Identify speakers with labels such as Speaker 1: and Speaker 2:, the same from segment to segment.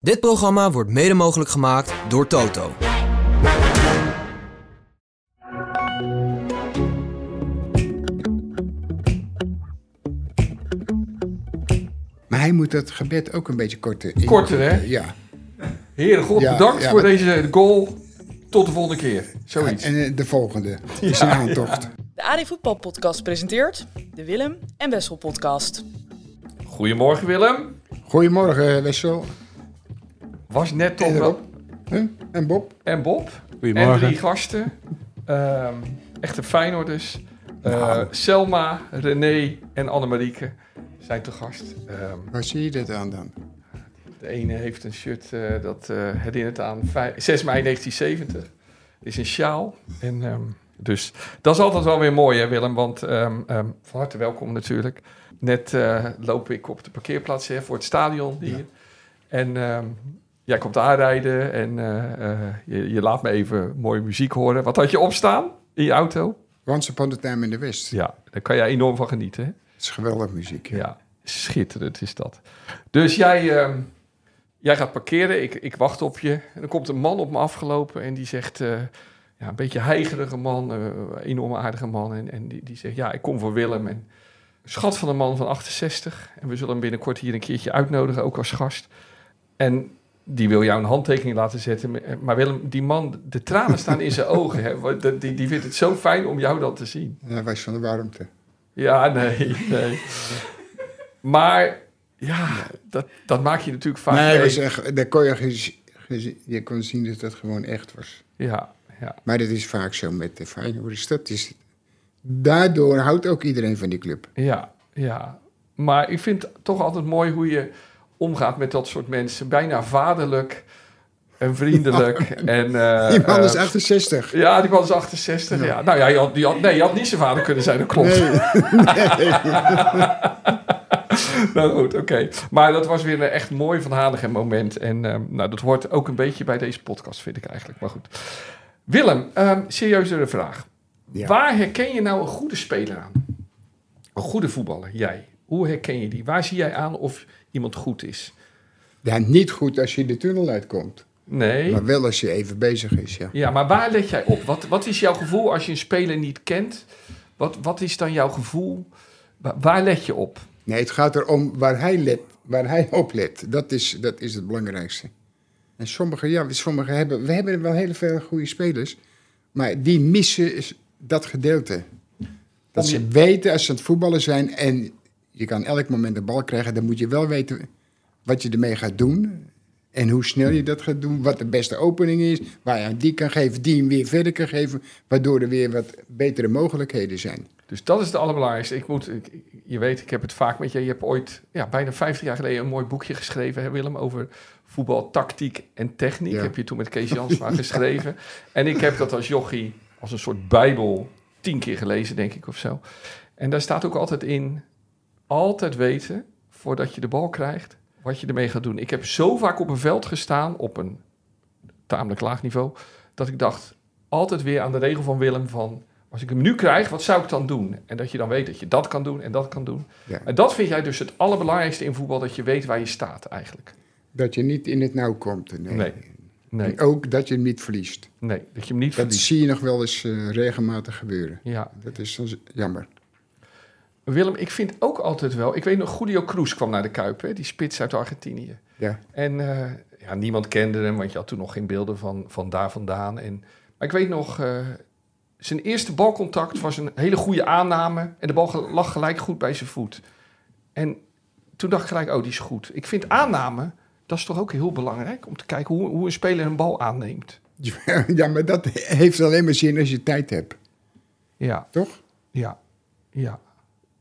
Speaker 1: Dit programma wordt mede mogelijk gemaakt door Toto.
Speaker 2: Maar hij moet dat gebed ook een beetje korter. in-
Speaker 3: Korter, hè?
Speaker 2: Ja.
Speaker 3: Heren, God,
Speaker 2: Ja,
Speaker 3: bedankt
Speaker 2: ja,
Speaker 3: voor
Speaker 2: maar-
Speaker 3: deze goal. Tot de volgende keer. Zoiets.
Speaker 2: En eh, de volgende is een aantocht.
Speaker 4: De AD Voetbal Podcast presenteert de Willem en Wessel Podcast.
Speaker 3: Goedemorgen, Willem.
Speaker 2: Goedemorgen, eh, Wessel.
Speaker 3: Was net toch
Speaker 2: En
Speaker 3: wel.
Speaker 2: Rob. Huh? En Bob.
Speaker 3: En Bob. En drie gasten. Ehm, echte Feyenoorders. Eh,
Speaker 2: Nou.
Speaker 3: Selma, René en Annemarieke zijn te gast. Ehm,
Speaker 2: Waar zie je dit aan dan?
Speaker 3: de ene heeft een shirt eh, dat eh, herinnert aan vij- 6 mei 1970. Is een sjaal. En, ehm, dus dat is altijd wel weer mooi, hè, Willem? Want ehm, ehm, van harte welkom natuurlijk. Net eh, loop ik op de parkeerplaats hè, voor het stadion hier. En ehm, jij komt aanrijden en eh, eh, je, je laat me even mooie muziek horen. Wat had je opstaan in je auto?
Speaker 2: Once Upon a Time in the West.
Speaker 3: Ja, daar kan jij enorm van genieten. Hè?
Speaker 2: Het is geweldig muziek. hè?
Speaker 3: Ja, schitterend is dat. Dus jij, ehm, jij gaat parkeren, ik, ik wacht op je. En dan komt een man op me afgelopen en die zegt... eh, ja, een beetje heigerige man, eh enorm aardige man. En, en die, die zegt, ja, ik kom voor Willem. En een schat van een man van 68. En we zullen hem binnenkort hier een keertje uitnodigen, ook als gast. En die wil jou een handtekening laten zetten. Maar Willem, die man, de tranen staan in zijn ogen. Hè? Want dat- Die, die vindt het zo fijn om jou dat te zien.
Speaker 2: En Hij was Eh, van de warmte.
Speaker 3: Ja, nee, nee. Maar ja, dat, dat maak je natuurlijk vaak
Speaker 2: nee,
Speaker 3: mee.
Speaker 2: hij was echt, daar kon je, gez- gez- je kon zien dat dat gewoon echt was.
Speaker 3: Ja, ja,
Speaker 2: Maar dat is vaak zo met de Feyenoorders. Dat is, daardoor houdt ook iedereen van die club.
Speaker 3: ja, ja. Maar ik vind het toch altijd mooi hoe je omgaat met dat soort mensen. Bijna vaderlijk en vriendelijk. en, eh,
Speaker 2: Die man is
Speaker 3: eh,
Speaker 2: 68.
Speaker 3: Ja, die man is 68, ja. Nou ja, je had, die had, nee, je had niet zijn vader kunnen zijn, dat klopt. nou goed, oké. Maar dat was weer een echt mooi Van Hanegem moment. En ehm, nou, dat hoort ook een beetje bij deze podcast, vind ik eigenlijk. Maar goed. Willem, ehm serieuzere vraag.
Speaker 2: Ja.
Speaker 3: Waar herken je nou een goede speler aan? Een goede voetballer, jij. Hoe herken je die? Waar zie jij aan of iemand goed is?
Speaker 2: Ja, niet goed als je de tunnel uitkomt.
Speaker 3: Nee.
Speaker 2: Maar wel als je even bezig is, ja.
Speaker 3: Ja, maar waar let jij op? Wat, wat is jouw gevoel als je een speler niet kent? Wat, wat is dan jouw gevoel? Wa- waar let je op?
Speaker 2: Nee, het gaat erom waar hij, let, waar hij op let. Dat is, dat is het belangrijkste. En sommigen, ja, sommigen hebben... We hebben wel heel veel goede spelers. Maar die missen is dat gedeelte. Dat
Speaker 3: Om
Speaker 2: ze weten als ze aan het voetballen zijn... en je kan elk moment de bal krijgen... dan moet je wel weten wat je ermee gaat doen... En hoe snel je dat gaat doen, wat de beste opening is, waar je aan die kan geven, die hem weer verder kan geven, waardoor er weer wat betere mogelijkheden zijn.
Speaker 3: Dus dat is het allerbelangrijkste. Ik moet, ik- ik- je weet, ik heb het vaak met je. Je hebt ooit, ja, bijna 50 jaar geleden, een mooi boekje geschreven, hè, Willem, over voetbal, tactiek en techniek.
Speaker 2: Ja.
Speaker 3: Heb je toen met Kees Jansma geschreven. En ik heb dat als jochie, als een soort bijbel, tien keer gelezen, denk ik, of zo. En daar staat ook altijd in, altijd weten, voordat je de bal krijgt, wat je ermee gaat doen. Ik heb zo vaak op een veld gestaan, op een tamelijk laag niveau, dat ik dacht, altijd weer aan de regel van Willem van... Als ik hem nu krijg, wat zou ik dan doen? En dat je dan weet dat je dat kan doen en dat kan doen.
Speaker 2: Ja.
Speaker 3: En dat vind jij dus het allerbelangrijkste in voetbal, dat je weet waar je staat eigenlijk.
Speaker 2: Dat je niet in het nauw komt.
Speaker 3: Nee. Nee,
Speaker 2: En ook dat je hem niet verliest.
Speaker 3: nee dat je hem niet
Speaker 2: Dat
Speaker 3: verliest.
Speaker 2: zie je nog wel eens eh, regelmatig gebeuren.
Speaker 3: Ja.
Speaker 2: Dat is dan z- jammer.
Speaker 3: Willem, ik vind ook altijd wel... Ik weet nog, Julio Cruz kwam naar de Kuip, hè, die spits uit Argentinië.
Speaker 2: Ja.
Speaker 3: En eh, ja, niemand kende hem, want je had toen nog geen beelden van, van daar vandaan. En, maar ik weet nog, eh, zijn eerste balcontact was een hele goede aanname. En de bal ge- lag gelijk goed bij zijn voet. En toen dacht ik gelijk, oh, die is goed. Ik vind aanname, dat is toch ook heel belangrijk... om te kijken hoe, hoe een speler een bal aanneemt.
Speaker 2: ja, maar dat heeft alleen maar zin als je tijd hebt,
Speaker 3: Ja,
Speaker 2: toch?
Speaker 3: ja, ja.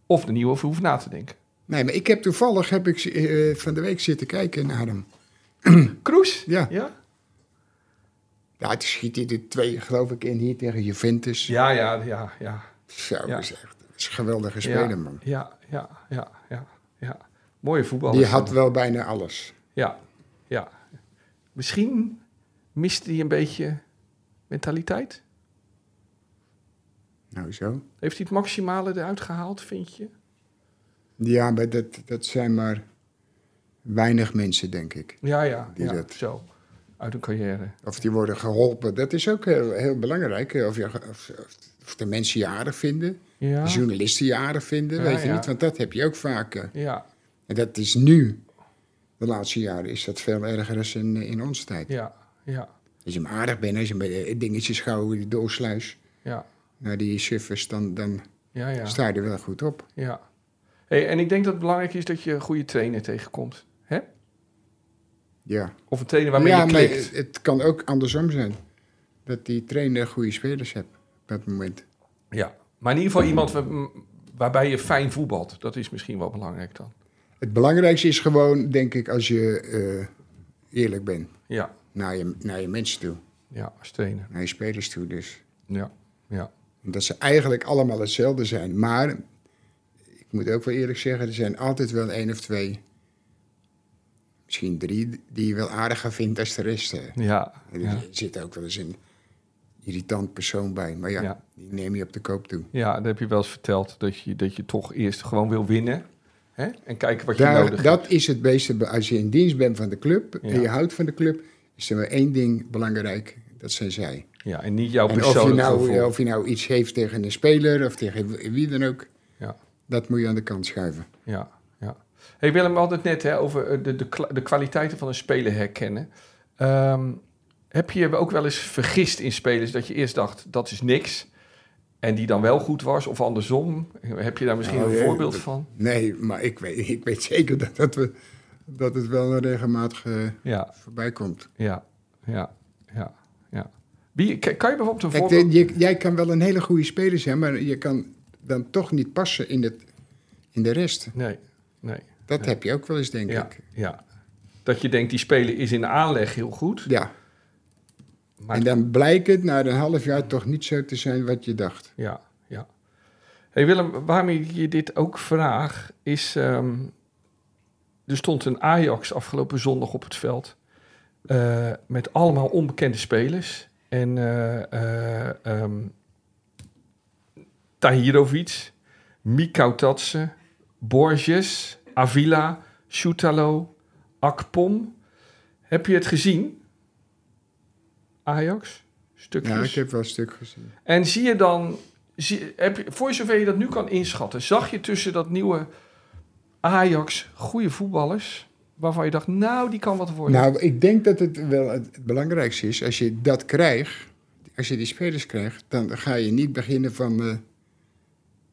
Speaker 3: Of de nieuwe hoeft na te denken.
Speaker 2: Nee, maar ik heb toevallig heb ik, eh, van de week zitten kijken naar hem.
Speaker 3: Kroes?
Speaker 2: Ja.
Speaker 3: Ja,
Speaker 2: Ja, het schiet hij er twee, geloof ik, in hier tegen Juventus.
Speaker 3: ja, ja, ja. ja.
Speaker 2: Zo,
Speaker 3: Ja.
Speaker 2: is echt dat is een geweldige speler, man.
Speaker 3: Ja, ja, ja, ja, ja. Mooie voetballer.
Speaker 2: Die had wel bijna alles.
Speaker 3: Ja, ja. Misschien miste hij een beetje mentaliteit.
Speaker 2: Nou, zo.
Speaker 3: Heeft hij het maximale eruit gehaald, vind je?
Speaker 2: Ja, maar dat, dat zijn maar weinig mensen, denk ik.
Speaker 3: Ja, ja,
Speaker 2: Die
Speaker 3: ja,
Speaker 2: dat-
Speaker 3: zo. Uit een carrière.
Speaker 2: Of die worden geholpen. Dat is ook heel, heel belangrijk. eh, Of, je, of, of de mensen je aardig vinden.
Speaker 3: Ja,
Speaker 2: De journalisten je aardig vinden.
Speaker 3: Ja,
Speaker 2: weet je
Speaker 3: ja.
Speaker 2: niet? Want dat heb je ook vaak. eh.
Speaker 3: ja,
Speaker 2: En dat is nu. De laatste jaren is dat veel erger dan in, in onze tijd.
Speaker 3: ja, ja,
Speaker 2: Als je hem aardig bent, als je met eh, dingetjes gauw die doorsluis
Speaker 3: ja,
Speaker 2: naar die suffers, dan, dan
Speaker 3: ja, ja.
Speaker 2: sta je er wel goed op.
Speaker 3: ja. Hey, en ik denk dat het belangrijk is dat je een goede trainer tegenkomt. Hè?
Speaker 2: Ja.
Speaker 3: Of een trainer waarmee
Speaker 2: ja,
Speaker 3: je
Speaker 2: maar
Speaker 3: klikt.
Speaker 2: het, het kan ook andersom zijn. Dat die trainer goede spelers hebt op dat moment.
Speaker 3: Ja, maar in ieder geval iemand wa- m- waarbij je fijn voetbalt. Dat is misschien wel belangrijk dan.
Speaker 2: Het belangrijkste is gewoon, denk ik, als je eh, eerlijk bent.
Speaker 3: Ja,
Speaker 2: Naar je, naar je mensen toe,
Speaker 3: ja, als trainer.
Speaker 2: naar je spelers toe dus.
Speaker 3: Ja, ja,
Speaker 2: Omdat ze eigenlijk allemaal hetzelfde zijn. Maar, ik moet ook wel eerlijk zeggen, er zijn altijd wel één of twee, misschien drie, die je wel aardiger vindt als de rest. eh.
Speaker 3: ja,
Speaker 2: Er
Speaker 3: ja,
Speaker 2: zit ook wel eens een irritant persoon bij. Maar ja,
Speaker 3: Ja.
Speaker 2: die neem je op de koop toe.
Speaker 3: ja. Dat heb je wel eens verteld dat je, dat je toch eerst gewoon wil winnen. Hè? En kijken wat je
Speaker 2: Daar-
Speaker 3: nodig hebt.
Speaker 2: dat is het beste. be- Als je in dienst bent van de club
Speaker 3: Ja.
Speaker 2: en je houdt van de club, is er maar één ding belangrijk. Dat zijn zij.
Speaker 3: Ja, en niet jouw
Speaker 2: En of je,
Speaker 3: persoonlijke
Speaker 2: nou,
Speaker 3: gevoel.
Speaker 2: of je nou iets heeft tegen een speler of tegen w- wie dan ook,
Speaker 3: Ja.
Speaker 2: dat moet je aan de kant schuiven.
Speaker 3: Ja, ja. Hey Willem, we hadden het net hè, over eh, de, de, kla- de kwaliteiten van een speler herkennen. Ehm, heb je je ook wel eens vergist in spelers dat je eerst dacht dat is niks en die dan wel goed was of andersom? Heb je daar misschien
Speaker 2: Nou,
Speaker 3: een
Speaker 2: eh,
Speaker 3: voorbeeld
Speaker 2: dat-
Speaker 3: van?
Speaker 2: Nee, maar ik weet, ik weet zeker dat, dat, we, dat het wel regelmatig eh,
Speaker 3: Ja,
Speaker 2: voorbij komt.
Speaker 3: ja, ja, ja, ja. Wie, k- kan je bijvoorbeeld een
Speaker 2: Kijk,
Speaker 3: voorbeeld?
Speaker 2: de- je- jij kan wel een hele goede speler zijn, maar je kan dan toch niet passen in, het, in de rest.
Speaker 3: Nee, nee.
Speaker 2: Dat heb je ook wel eens, denk
Speaker 3: Ja,
Speaker 2: ik.
Speaker 3: ja. Dat je denkt die speler is in aanleg heel goed,
Speaker 2: Ja.
Speaker 3: maar
Speaker 2: en dan blijkt het na een half jaar toch niet zo te zijn wat je dacht.
Speaker 3: Ja, ja. Hey Willem, waarom ik je dit ook vraag is... ehm, er stond een Ajax afgelopen zondag op het veld... eh, met allemaal onbekende spelers. En eh eh ehm, Tahirovic, Mikau Tatsen, Borges, Avila, Shoutalo, Akpom. Heb je het gezien? Ajax? Stukjes?
Speaker 2: Ja, ik heb wel een stuk gezien.
Speaker 3: En zie je dan, zie, heb je, voor zover je dat nu kan inschatten, zag je tussen dat nieuwe Ajax goede voetballers, waarvan je dacht, nou, die kan wat worden.
Speaker 2: Nou, ik denk dat het wel het het belangrijkste is. Als je dat krijgt, als je die spelers krijgt, dan ga je niet beginnen van eh,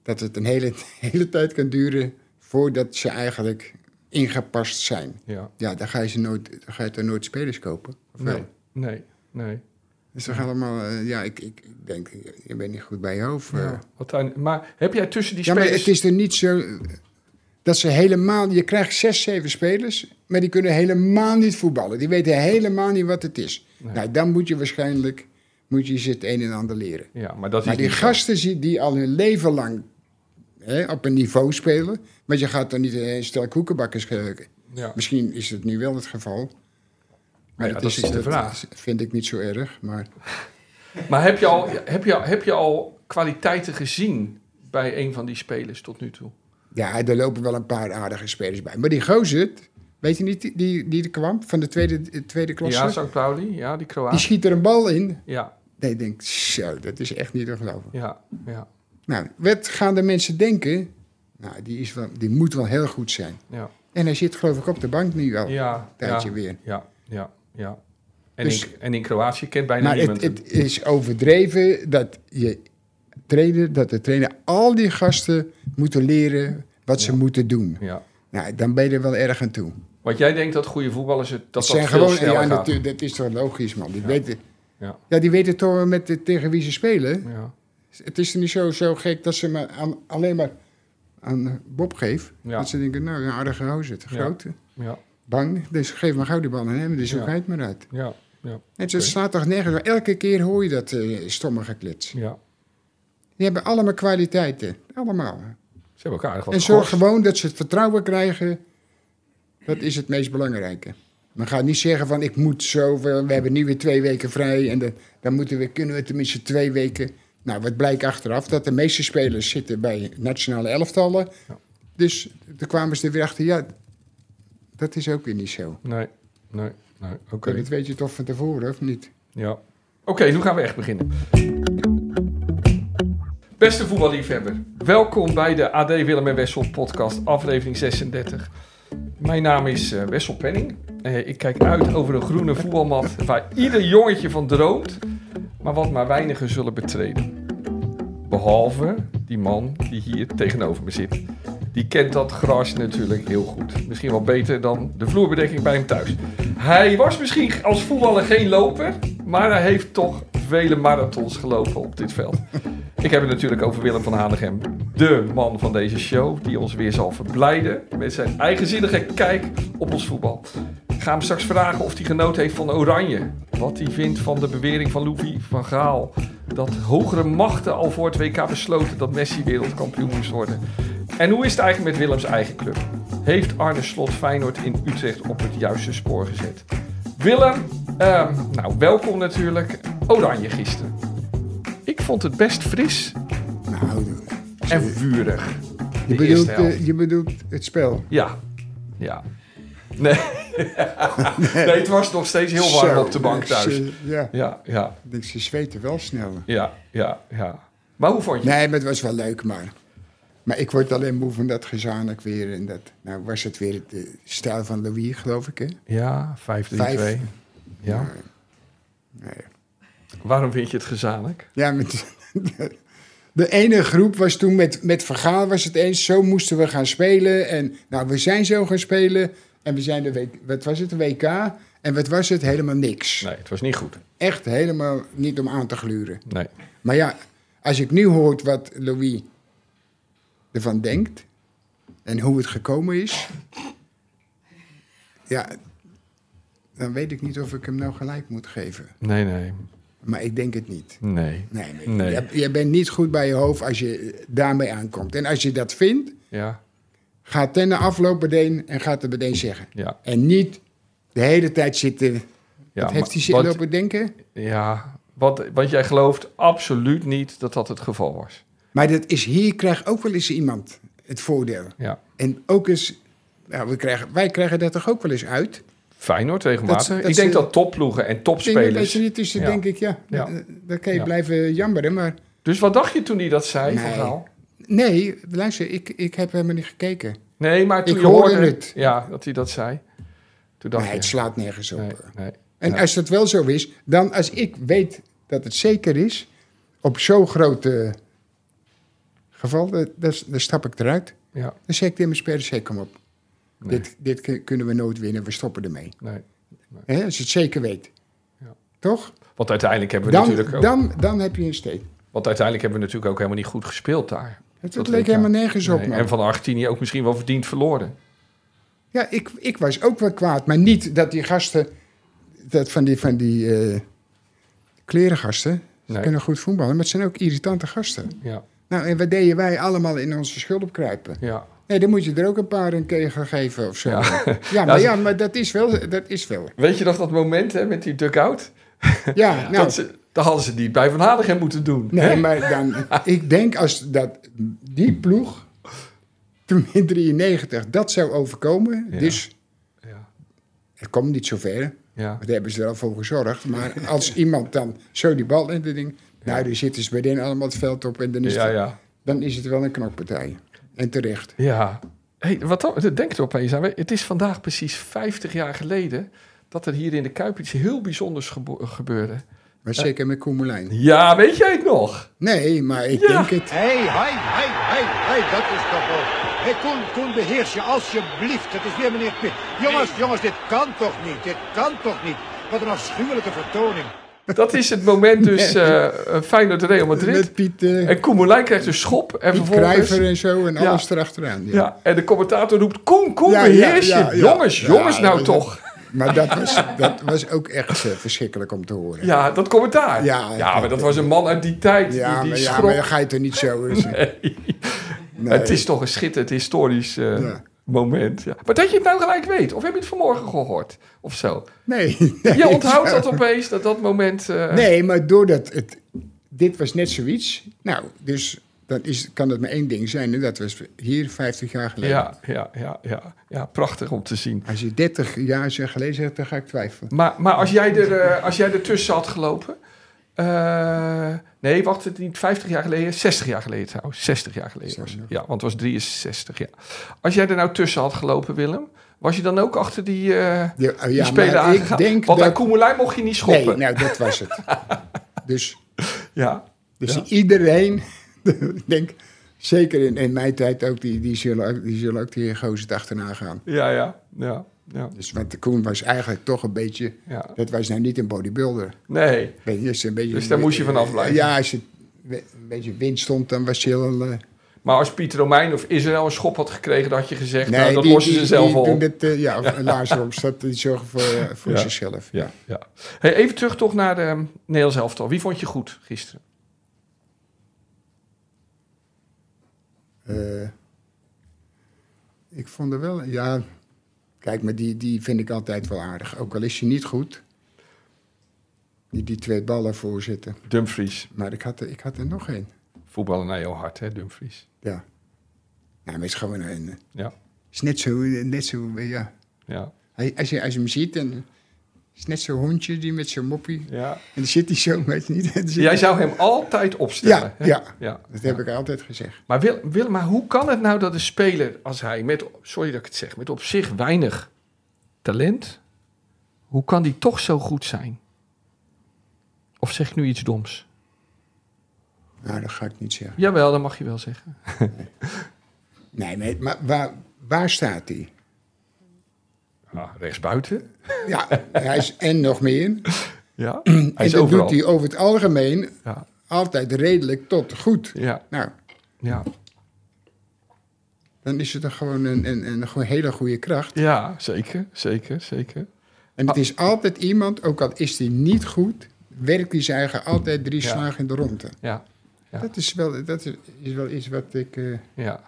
Speaker 2: dat het een hele, hele tijd kan duren voordat ze eigenlijk ingepast zijn.
Speaker 3: ja.
Speaker 2: Ja, dan ga je, ze nooit, dan ga je toch nooit spelers kopen. Of wel?
Speaker 3: Nee, nee, nee.
Speaker 2: Dus dan gaan allemaal, eh, ja, ik, ik ik denk, je bent niet goed bij je hoofd. eh.
Speaker 3: Ja. Wat dan- maar heb jij tussen die
Speaker 2: Ja, maar
Speaker 3: spelers...
Speaker 2: het is er niet zo eh, dat ze helemaal... Je krijgt zes, zeven spelers, maar die kunnen helemaal niet voetballen. Die weten helemaal niet wat het is.
Speaker 3: Nee.
Speaker 2: Nou, dan moet je waarschijnlijk moet je ze het een en ander leren.
Speaker 3: Ja, maar dat
Speaker 2: maar
Speaker 3: is
Speaker 2: die
Speaker 3: niet zo.
Speaker 2: gasten die, die al hun leven lang hè, op een niveau spelen... want je gaat dan niet eh, een stel koekenbakkers... ge-
Speaker 3: Ja.
Speaker 2: Misschien is het nu wel het geval.
Speaker 3: Maar ja, dat is de vraag.
Speaker 2: vind ik niet zo erg, maar...
Speaker 3: Maar heb je, al, heb, je, al- heb je al kwaliteiten gezien bij een van die spelers tot nu toe?
Speaker 2: Ja, er lopen wel een paar aardige spelers bij. Maar die Gozert, weet je niet, die, die, die er kwam van de tweede, de tweede klasse?
Speaker 3: Ja, St. Pauli, ja, die
Speaker 2: die
Speaker 3: Kroaat.
Speaker 2: schiet er een bal in.
Speaker 3: Ja,
Speaker 2: Nee, ik denk, zo, dat is echt niet te geloven.
Speaker 3: ja, ja,
Speaker 2: Nou, wat gaan de mensen denken? Nou, die, is wel, die moet wel heel goed zijn.
Speaker 3: ja,
Speaker 2: En hij zit geloof ik op de bank nu al.
Speaker 3: ja,
Speaker 2: Oh, tijdje
Speaker 3: ja,
Speaker 2: weer.
Speaker 3: ja, ja, ja. En,
Speaker 2: Dus-
Speaker 3: in, en in Kroatië kent bijna
Speaker 2: Maar
Speaker 3: niemand
Speaker 2: het,
Speaker 3: hem.
Speaker 2: het is overdreven dat, je trainer, dat de trainer al die gasten moeten leren wat ze moeten doen.
Speaker 3: Ja.
Speaker 2: Nou, dan ben je er wel erg aan toe.
Speaker 3: Want jij denkt dat goede voetballers het dat, dat
Speaker 2: Dat zijn
Speaker 3: veel
Speaker 2: gewoon,
Speaker 3: sneller
Speaker 2: ja,
Speaker 3: gaat.
Speaker 2: natuurlijk, dat is toch logisch, man. Die weten,
Speaker 3: Ja.
Speaker 2: ja. die weten toch wel met, tegen wie ze spelen.
Speaker 3: Ja,
Speaker 2: Het is niet zo, zo gek dat ze maar aan, alleen maar aan eh, Bob geven.
Speaker 3: Ja.
Speaker 2: Dat ze denken, nou, een aardige gozer, te
Speaker 3: Ja.
Speaker 2: groot. eh,
Speaker 3: ja,
Speaker 2: Bang, dus geef maar gauw die bal aan hem, dus
Speaker 3: Ja.
Speaker 2: zoek hij het maar uit.
Speaker 3: ja, ja,
Speaker 2: Het
Speaker 3: Oké.
Speaker 2: slaat toch nergens op. Elke keer hoor je dat eh, stomme geklets.
Speaker 3: ja.
Speaker 2: Die hebben allemaal kwaliteiten, allemaal.
Speaker 3: Ze hebben elkaar aardig wat
Speaker 2: en zorg
Speaker 3: gekost.
Speaker 2: gewoon dat ze het vertrouwen krijgen. Dat is het meest belangrijke. Men gaat niet zeggen van ik moet zoveel, we hebben nu weer twee weken vrij en dan- dan moeten we, kunnen we tenminste twee weken. Nou, wat blijkt achteraf? Dat de meeste spelers zitten bij nationale elftallen.
Speaker 3: Ja.
Speaker 2: Dus toen kwamen ze er weer achter, ja, Dat is ook weer niet zo.
Speaker 3: Nee, nee, nee. Oké.
Speaker 2: En dat weet je toch van tevoren, of niet?
Speaker 3: Ja. Oké, nu gaan we echt beginnen. Beste voetballiefhebber, welkom bij de AD Willem en Wessel podcast, aflevering 36. Mijn naam is eh, Wessel Penning. Eh, ik kijk uit over een groene voetbalmat waar ieder jongetje van droomt, maar wat maar weinigen zullen betreden. Behalve die man die hier tegenover me zit. Die kent dat gras natuurlijk heel goed. Misschien wel beter dan de vloerbedekking bij hem thuis. Hij was misschien als voetballer geen loper, maar hij heeft toch vele marathons gelopen op dit veld. Ik heb het natuurlijk over Willem van Hanegem, de man van deze show, die ons weer zal verblijden met zijn eigenzinnige kijk op ons voetbal. Ik ga hem straks vragen of hij genoten heeft van Oranje. Wat hij vindt van de bewering van Louis van Gaal. Dat hogere machten al voor het WK besloten dat Messi wereldkampioen moest worden. En hoe is het eigenlijk met Willems eigen club? Heeft Arne Slot Feyenoord in Utrecht op het juiste spoor gezet? Willem, ehm, nou welkom natuurlijk. Oranje gisteren. Ik vond het best fris
Speaker 2: Nou,
Speaker 3: en vurig.
Speaker 2: je
Speaker 3: De
Speaker 2: bedoelt,
Speaker 3: eerste
Speaker 2: eh,
Speaker 3: helft.
Speaker 2: je bedoelt het spel.
Speaker 3: Ja, ja. Nee. nee, het was nog steeds heel warm
Speaker 2: Zo,
Speaker 3: op de bank
Speaker 2: eh,
Speaker 3: thuis.
Speaker 2: ze- Ja,
Speaker 3: Ja, ja,
Speaker 2: ik denk, ze zweten wel sneller.
Speaker 3: ja, ja, ja. Maar hoe vond je het?
Speaker 2: Nee, maar het was wel leuk, maar... Maar ik word alleen moe van dat gezanik weer. En dat, nou was het weer de stijl van Louis, geloof ik, hè?
Speaker 3: Ja, 5-3-2.
Speaker 2: Vijf.
Speaker 3: Ja.
Speaker 2: Nee.
Speaker 3: Waarom vind je het gezanik?
Speaker 2: Ja, met, de, ene groep was toen met, met Vergaal was het eens. Zo moesten we gaan spelen. En nou, we zijn zo gaan spelen. En we zijn de week, wat was het, de WK. En wat was het? Helemaal niks.
Speaker 3: Nee, het was niet goed.
Speaker 2: Echt helemaal niet om aan te gluren.
Speaker 3: Nee.
Speaker 2: Maar ja, als ik nu hoor wat Louis ervan denkt en hoe het gekomen is, ja, dan weet ik niet of ik hem nou gelijk moet geven.
Speaker 3: Nee, nee.
Speaker 2: Maar ik denk het niet.
Speaker 3: Nee.
Speaker 2: Nee, nee.
Speaker 3: Nee.
Speaker 2: Je, je bent niet goed bij je hoofd als je daarmee aankomt. En als je dat vindt,
Speaker 3: Ja,
Speaker 2: ga ten de afloop meteen en gaat het meteen zeggen.
Speaker 3: ja.
Speaker 2: En niet de hele tijd zitten.
Speaker 3: ja
Speaker 2: wat heeft
Speaker 3: maar-
Speaker 2: hij zitten
Speaker 3: want-
Speaker 2: lopen denken?
Speaker 3: Ja, want, want jij gelooft absoluut niet dat dat het geval was.
Speaker 2: Maar dat is, hier krijgt ook wel eens iemand het voordeel.
Speaker 3: Ja.
Speaker 2: En ook eens, nou, we krijgen, wij krijgen dat toch ook wel eens uit.
Speaker 3: Feyenoord regelmatig.
Speaker 2: Dat- dat
Speaker 3: ik denk
Speaker 2: ze-
Speaker 3: dat topploegen en
Speaker 2: Dingen dat
Speaker 3: topspelers...
Speaker 2: je niet tussen,
Speaker 3: Ja.
Speaker 2: denk ik, ja,
Speaker 3: Ja.
Speaker 2: dan- dan kan je
Speaker 3: Ja.
Speaker 2: blijven jammeren. Maar
Speaker 3: Dus wat dacht je toen hij dat zei,
Speaker 2: Nee.
Speaker 3: Van Gaal?
Speaker 2: nee, luister, ik, ik heb helemaal niet gekeken.
Speaker 3: Nee, maar toen
Speaker 2: Ik
Speaker 3: je hoorde...
Speaker 2: hoorde het.
Speaker 3: Ja, dat hij dat zei. Toen dacht
Speaker 2: Maar
Speaker 3: je...
Speaker 2: het slaat nergens op.
Speaker 3: nee, nee.
Speaker 2: En
Speaker 3: Ja.
Speaker 2: als dat wel zo is, dan als ik weet dat het zeker is, op zo'n groot eh, geval, dan, dan, dan stap ik eruit.
Speaker 3: Ja,
Speaker 2: Dan zeg ik tegen mijn spelers, hey, kom op.
Speaker 3: Nee.
Speaker 2: Dit, dit kun- kunnen we nooit winnen, we stoppen ermee.
Speaker 3: nee.
Speaker 2: Hè, als je het zeker weet.
Speaker 3: Ja.
Speaker 2: Toch?
Speaker 3: Want uiteindelijk hebben we
Speaker 2: Dan,
Speaker 3: natuurlijk ook...
Speaker 2: dan, dan heb je een steek.
Speaker 3: Want uiteindelijk hebben we natuurlijk ook helemaal niet goed gespeeld daar.
Speaker 2: Het,
Speaker 3: Dat
Speaker 2: het leek
Speaker 3: WK.
Speaker 2: helemaal nergens op,
Speaker 3: Nee,
Speaker 2: man.
Speaker 3: En van Argentinië ook misschien wel verdiend verloren.
Speaker 2: Ja, ik, ik was ook wel kwaad. Maar niet dat die gasten, dat van die, van die eh, klerengasten, ze
Speaker 3: Nee.
Speaker 2: kunnen goed voetballen, maar het zijn ook irritante gasten.
Speaker 3: Ja,
Speaker 2: Nou, en wat deden wij allemaal in onze schulp kruipen?
Speaker 3: ja.
Speaker 2: Nee, dan moet je er ook een paar een kegel geven of zo.
Speaker 3: Ja.
Speaker 2: Ja,
Speaker 3: dat
Speaker 2: maar,
Speaker 3: is-
Speaker 2: ja maar dat is wel. Dat is wel.
Speaker 3: Weet je nog dat moment hè, met die dugout?
Speaker 2: Ja, nou,
Speaker 3: Dat, ze, dat hadden ze niet bij Van Hanegem moeten doen.
Speaker 2: nee,
Speaker 3: hè?
Speaker 2: maar dan, ik denk als dat die ploeg toen in 93 dat zou overkomen,
Speaker 3: Ja.
Speaker 2: dus
Speaker 3: Ja,
Speaker 2: het komt niet zover, want
Speaker 3: ja,
Speaker 2: daar hebben ze er al voor gezorgd. Maar als iemand dan zo die bal in de ding, nou, dan zitten ze bij den allemaal het veld op en dan is,
Speaker 3: ja.
Speaker 2: het,
Speaker 3: ja.
Speaker 2: dan is het wel een knokpartij. En terecht.
Speaker 3: Ja. Hey, wat dan, denk er opeens aan. Het is vandaag precies 50 jaar geleden dat er hier in de Kuip iets heel bijzonders gebo- gebeurde.
Speaker 2: Maar zeker met Koemelijn.
Speaker 3: Ja, weet jij het nog?
Speaker 2: Nee, maar ik
Speaker 3: Ja.
Speaker 2: denk het.
Speaker 5: Hé, hé, hé, hé, hé, dat is toch wel. Hé, Koen, Koen, beheers je alsjeblieft. Dat is weer meneer Pitt. Jongens, jongens, dit kan toch niet? Dit kan toch niet? Wat een afschuwelijke vertoning.
Speaker 3: Dat is het moment dus eh eh, Feyenoord Real Madrid.
Speaker 2: Met Piet, eh,
Speaker 3: En Koemelijn krijgt een schop en
Speaker 2: Piet
Speaker 3: vervolgens...
Speaker 2: Kruiver en zo en
Speaker 3: Ja.
Speaker 2: alles erachteraan. Ja.
Speaker 3: Ja, en de commentator roept, Koen, Koen,
Speaker 2: Ja, ja,
Speaker 3: beheers je.
Speaker 2: ja, ja.
Speaker 3: jongens,
Speaker 2: Ja,
Speaker 3: jongens nou
Speaker 2: dat-
Speaker 3: toch.
Speaker 2: Maar dat was, dat was ook echt eh, verschrikkelijk om te horen.
Speaker 3: Ja, dat commentaar.
Speaker 2: Ja,
Speaker 3: Ja,
Speaker 2: ja.
Speaker 3: maar dat was een man uit die tijd.
Speaker 2: Ja,
Speaker 3: die,
Speaker 2: maar,
Speaker 3: die
Speaker 2: ja
Speaker 3: schrok.
Speaker 2: maar dan ga je er niet zo eens. Nee.
Speaker 3: Het is toch een schitterend historisch eh,
Speaker 2: Ja.
Speaker 3: moment. Ja. Maar dat je het nou gelijk weet. Of heb je het vanmorgen gehoord? Of zo.
Speaker 2: Nee. nee.
Speaker 3: Je onthoudt dat opeens, dat dat moment... eh,
Speaker 2: Nee, maar doordat het... Dit was net zoiets. Nou, dus dan is, kan dat maar één ding zijn. En dat was hier 50 jaar geleden.
Speaker 3: Ja, ja, ja, ja, ja, prachtig om te zien.
Speaker 2: Als je 30 jaar zegt geleden zegt, dan ga ik twijfelen.
Speaker 3: Maar, maar als, jij er, eh, als jij ertussen had gelopen. eh, nee, wacht, het niet 50 jaar geleden, 60 jaar geleden trouwens. 60 jaar geleden was het. Ja, want het was 63 jaar. Als jij er nou tussen had gelopen, Willem, was je dan ook achter die, eh,
Speaker 2: Ja, eh,
Speaker 3: die
Speaker 2: ja,
Speaker 3: speler
Speaker 2: maar ik
Speaker 3: aangegaan?
Speaker 2: denk
Speaker 3: want aan
Speaker 2: dat-
Speaker 3: Koemelijn mocht je niet schoppen.
Speaker 2: Nee, nou, dat was het. dus
Speaker 3: Ja,
Speaker 2: dus
Speaker 3: Ja.
Speaker 2: iedereen, ik denk, zeker in, in mijn tijd ook, die, die, zullen, ook- die zullen ook die gozer het achterna gaan.
Speaker 3: ja, ja, ja, ja,
Speaker 2: Dus, want de Koen was eigenlijk toch een beetje,
Speaker 3: ja.
Speaker 2: dat was nou niet een bodybuilder.
Speaker 3: Nee,
Speaker 2: Weet je, is een beetje,
Speaker 3: Dus daar moest je vanaf blijven.
Speaker 2: Ja, als je we- een beetje wind stond, dan was je al... eh,
Speaker 3: maar als Pieter Romein of Israël een schop had gekregen, dan had je gezegd, nou, dat
Speaker 2: die-
Speaker 3: lossen
Speaker 2: die-
Speaker 3: ze zelf
Speaker 2: die
Speaker 3: op.
Speaker 2: doen het, eh, ja, of Lars Romstad, die zorgen voor, eh, voor
Speaker 3: Ja.
Speaker 2: zichzelf.
Speaker 3: Ja, ja. Hey, even terug toch naar de ehm, Nederlands elftal. Wie vond je goed gisteren?
Speaker 2: Eh, ik vond er wel, ja. Kijk, maar die, die vind ik altijd wel aardig. Ook al is je niet goed. Die, die twee ballen voorzitten.
Speaker 3: Dumfries.
Speaker 2: Maar ik had er, ik had er nog één.
Speaker 3: Voetballen naar jouw hart, hè, Dumfries.
Speaker 2: Ja. Nou, maar het is gewoon een. eh,
Speaker 3: Ja,
Speaker 2: is net zo, net zo eh, ja.
Speaker 3: ja,
Speaker 2: Hij, als, je, als je hem ziet, dan is net zo'n hondje die met zijn moppie. En
Speaker 3: ja.
Speaker 2: dan zit hij zo, weet je niet. Dan zit
Speaker 3: Jij
Speaker 2: hij-
Speaker 3: zou hem altijd opstellen.
Speaker 2: Ja,
Speaker 3: hè?
Speaker 2: ja.
Speaker 3: ja.
Speaker 2: Dat heb ik altijd gezegd.
Speaker 3: Maar, Wil, Willem, maar hoe kan het nou dat een speler als hij met, sorry dat ik het zeg, met op zich weinig talent, hoe kan die toch zo goed zijn? Of zeg ik nu iets doms?
Speaker 2: Nou, dat ga ik niet zeggen.
Speaker 3: Jawel, dat mag je wel zeggen.
Speaker 2: Nee, maar, maar waar, waar staat hij?
Speaker 3: Ja, Nou, rechtsbuiten.
Speaker 2: Ja, hij is en nog meer.
Speaker 3: Ja, hij
Speaker 2: En
Speaker 3: is
Speaker 2: dat
Speaker 3: overal.
Speaker 2: doet hij over het algemeen
Speaker 3: Ja,
Speaker 2: altijd redelijk tot goed.
Speaker 3: ja,
Speaker 2: Nou,
Speaker 3: ja.
Speaker 2: dan is het dan gewoon een, een, een goe- hele goede kracht.
Speaker 3: Ja, zeker, zeker, zeker.
Speaker 2: En het is altijd iemand, ook al is hij niet goed, werkt hij zijn eigen altijd drie
Speaker 3: Ja.
Speaker 2: slagen in de ronde.
Speaker 3: Ja, Ja.
Speaker 2: Dat, is wel, dat is, is wel iets wat ik eh,
Speaker 3: ja,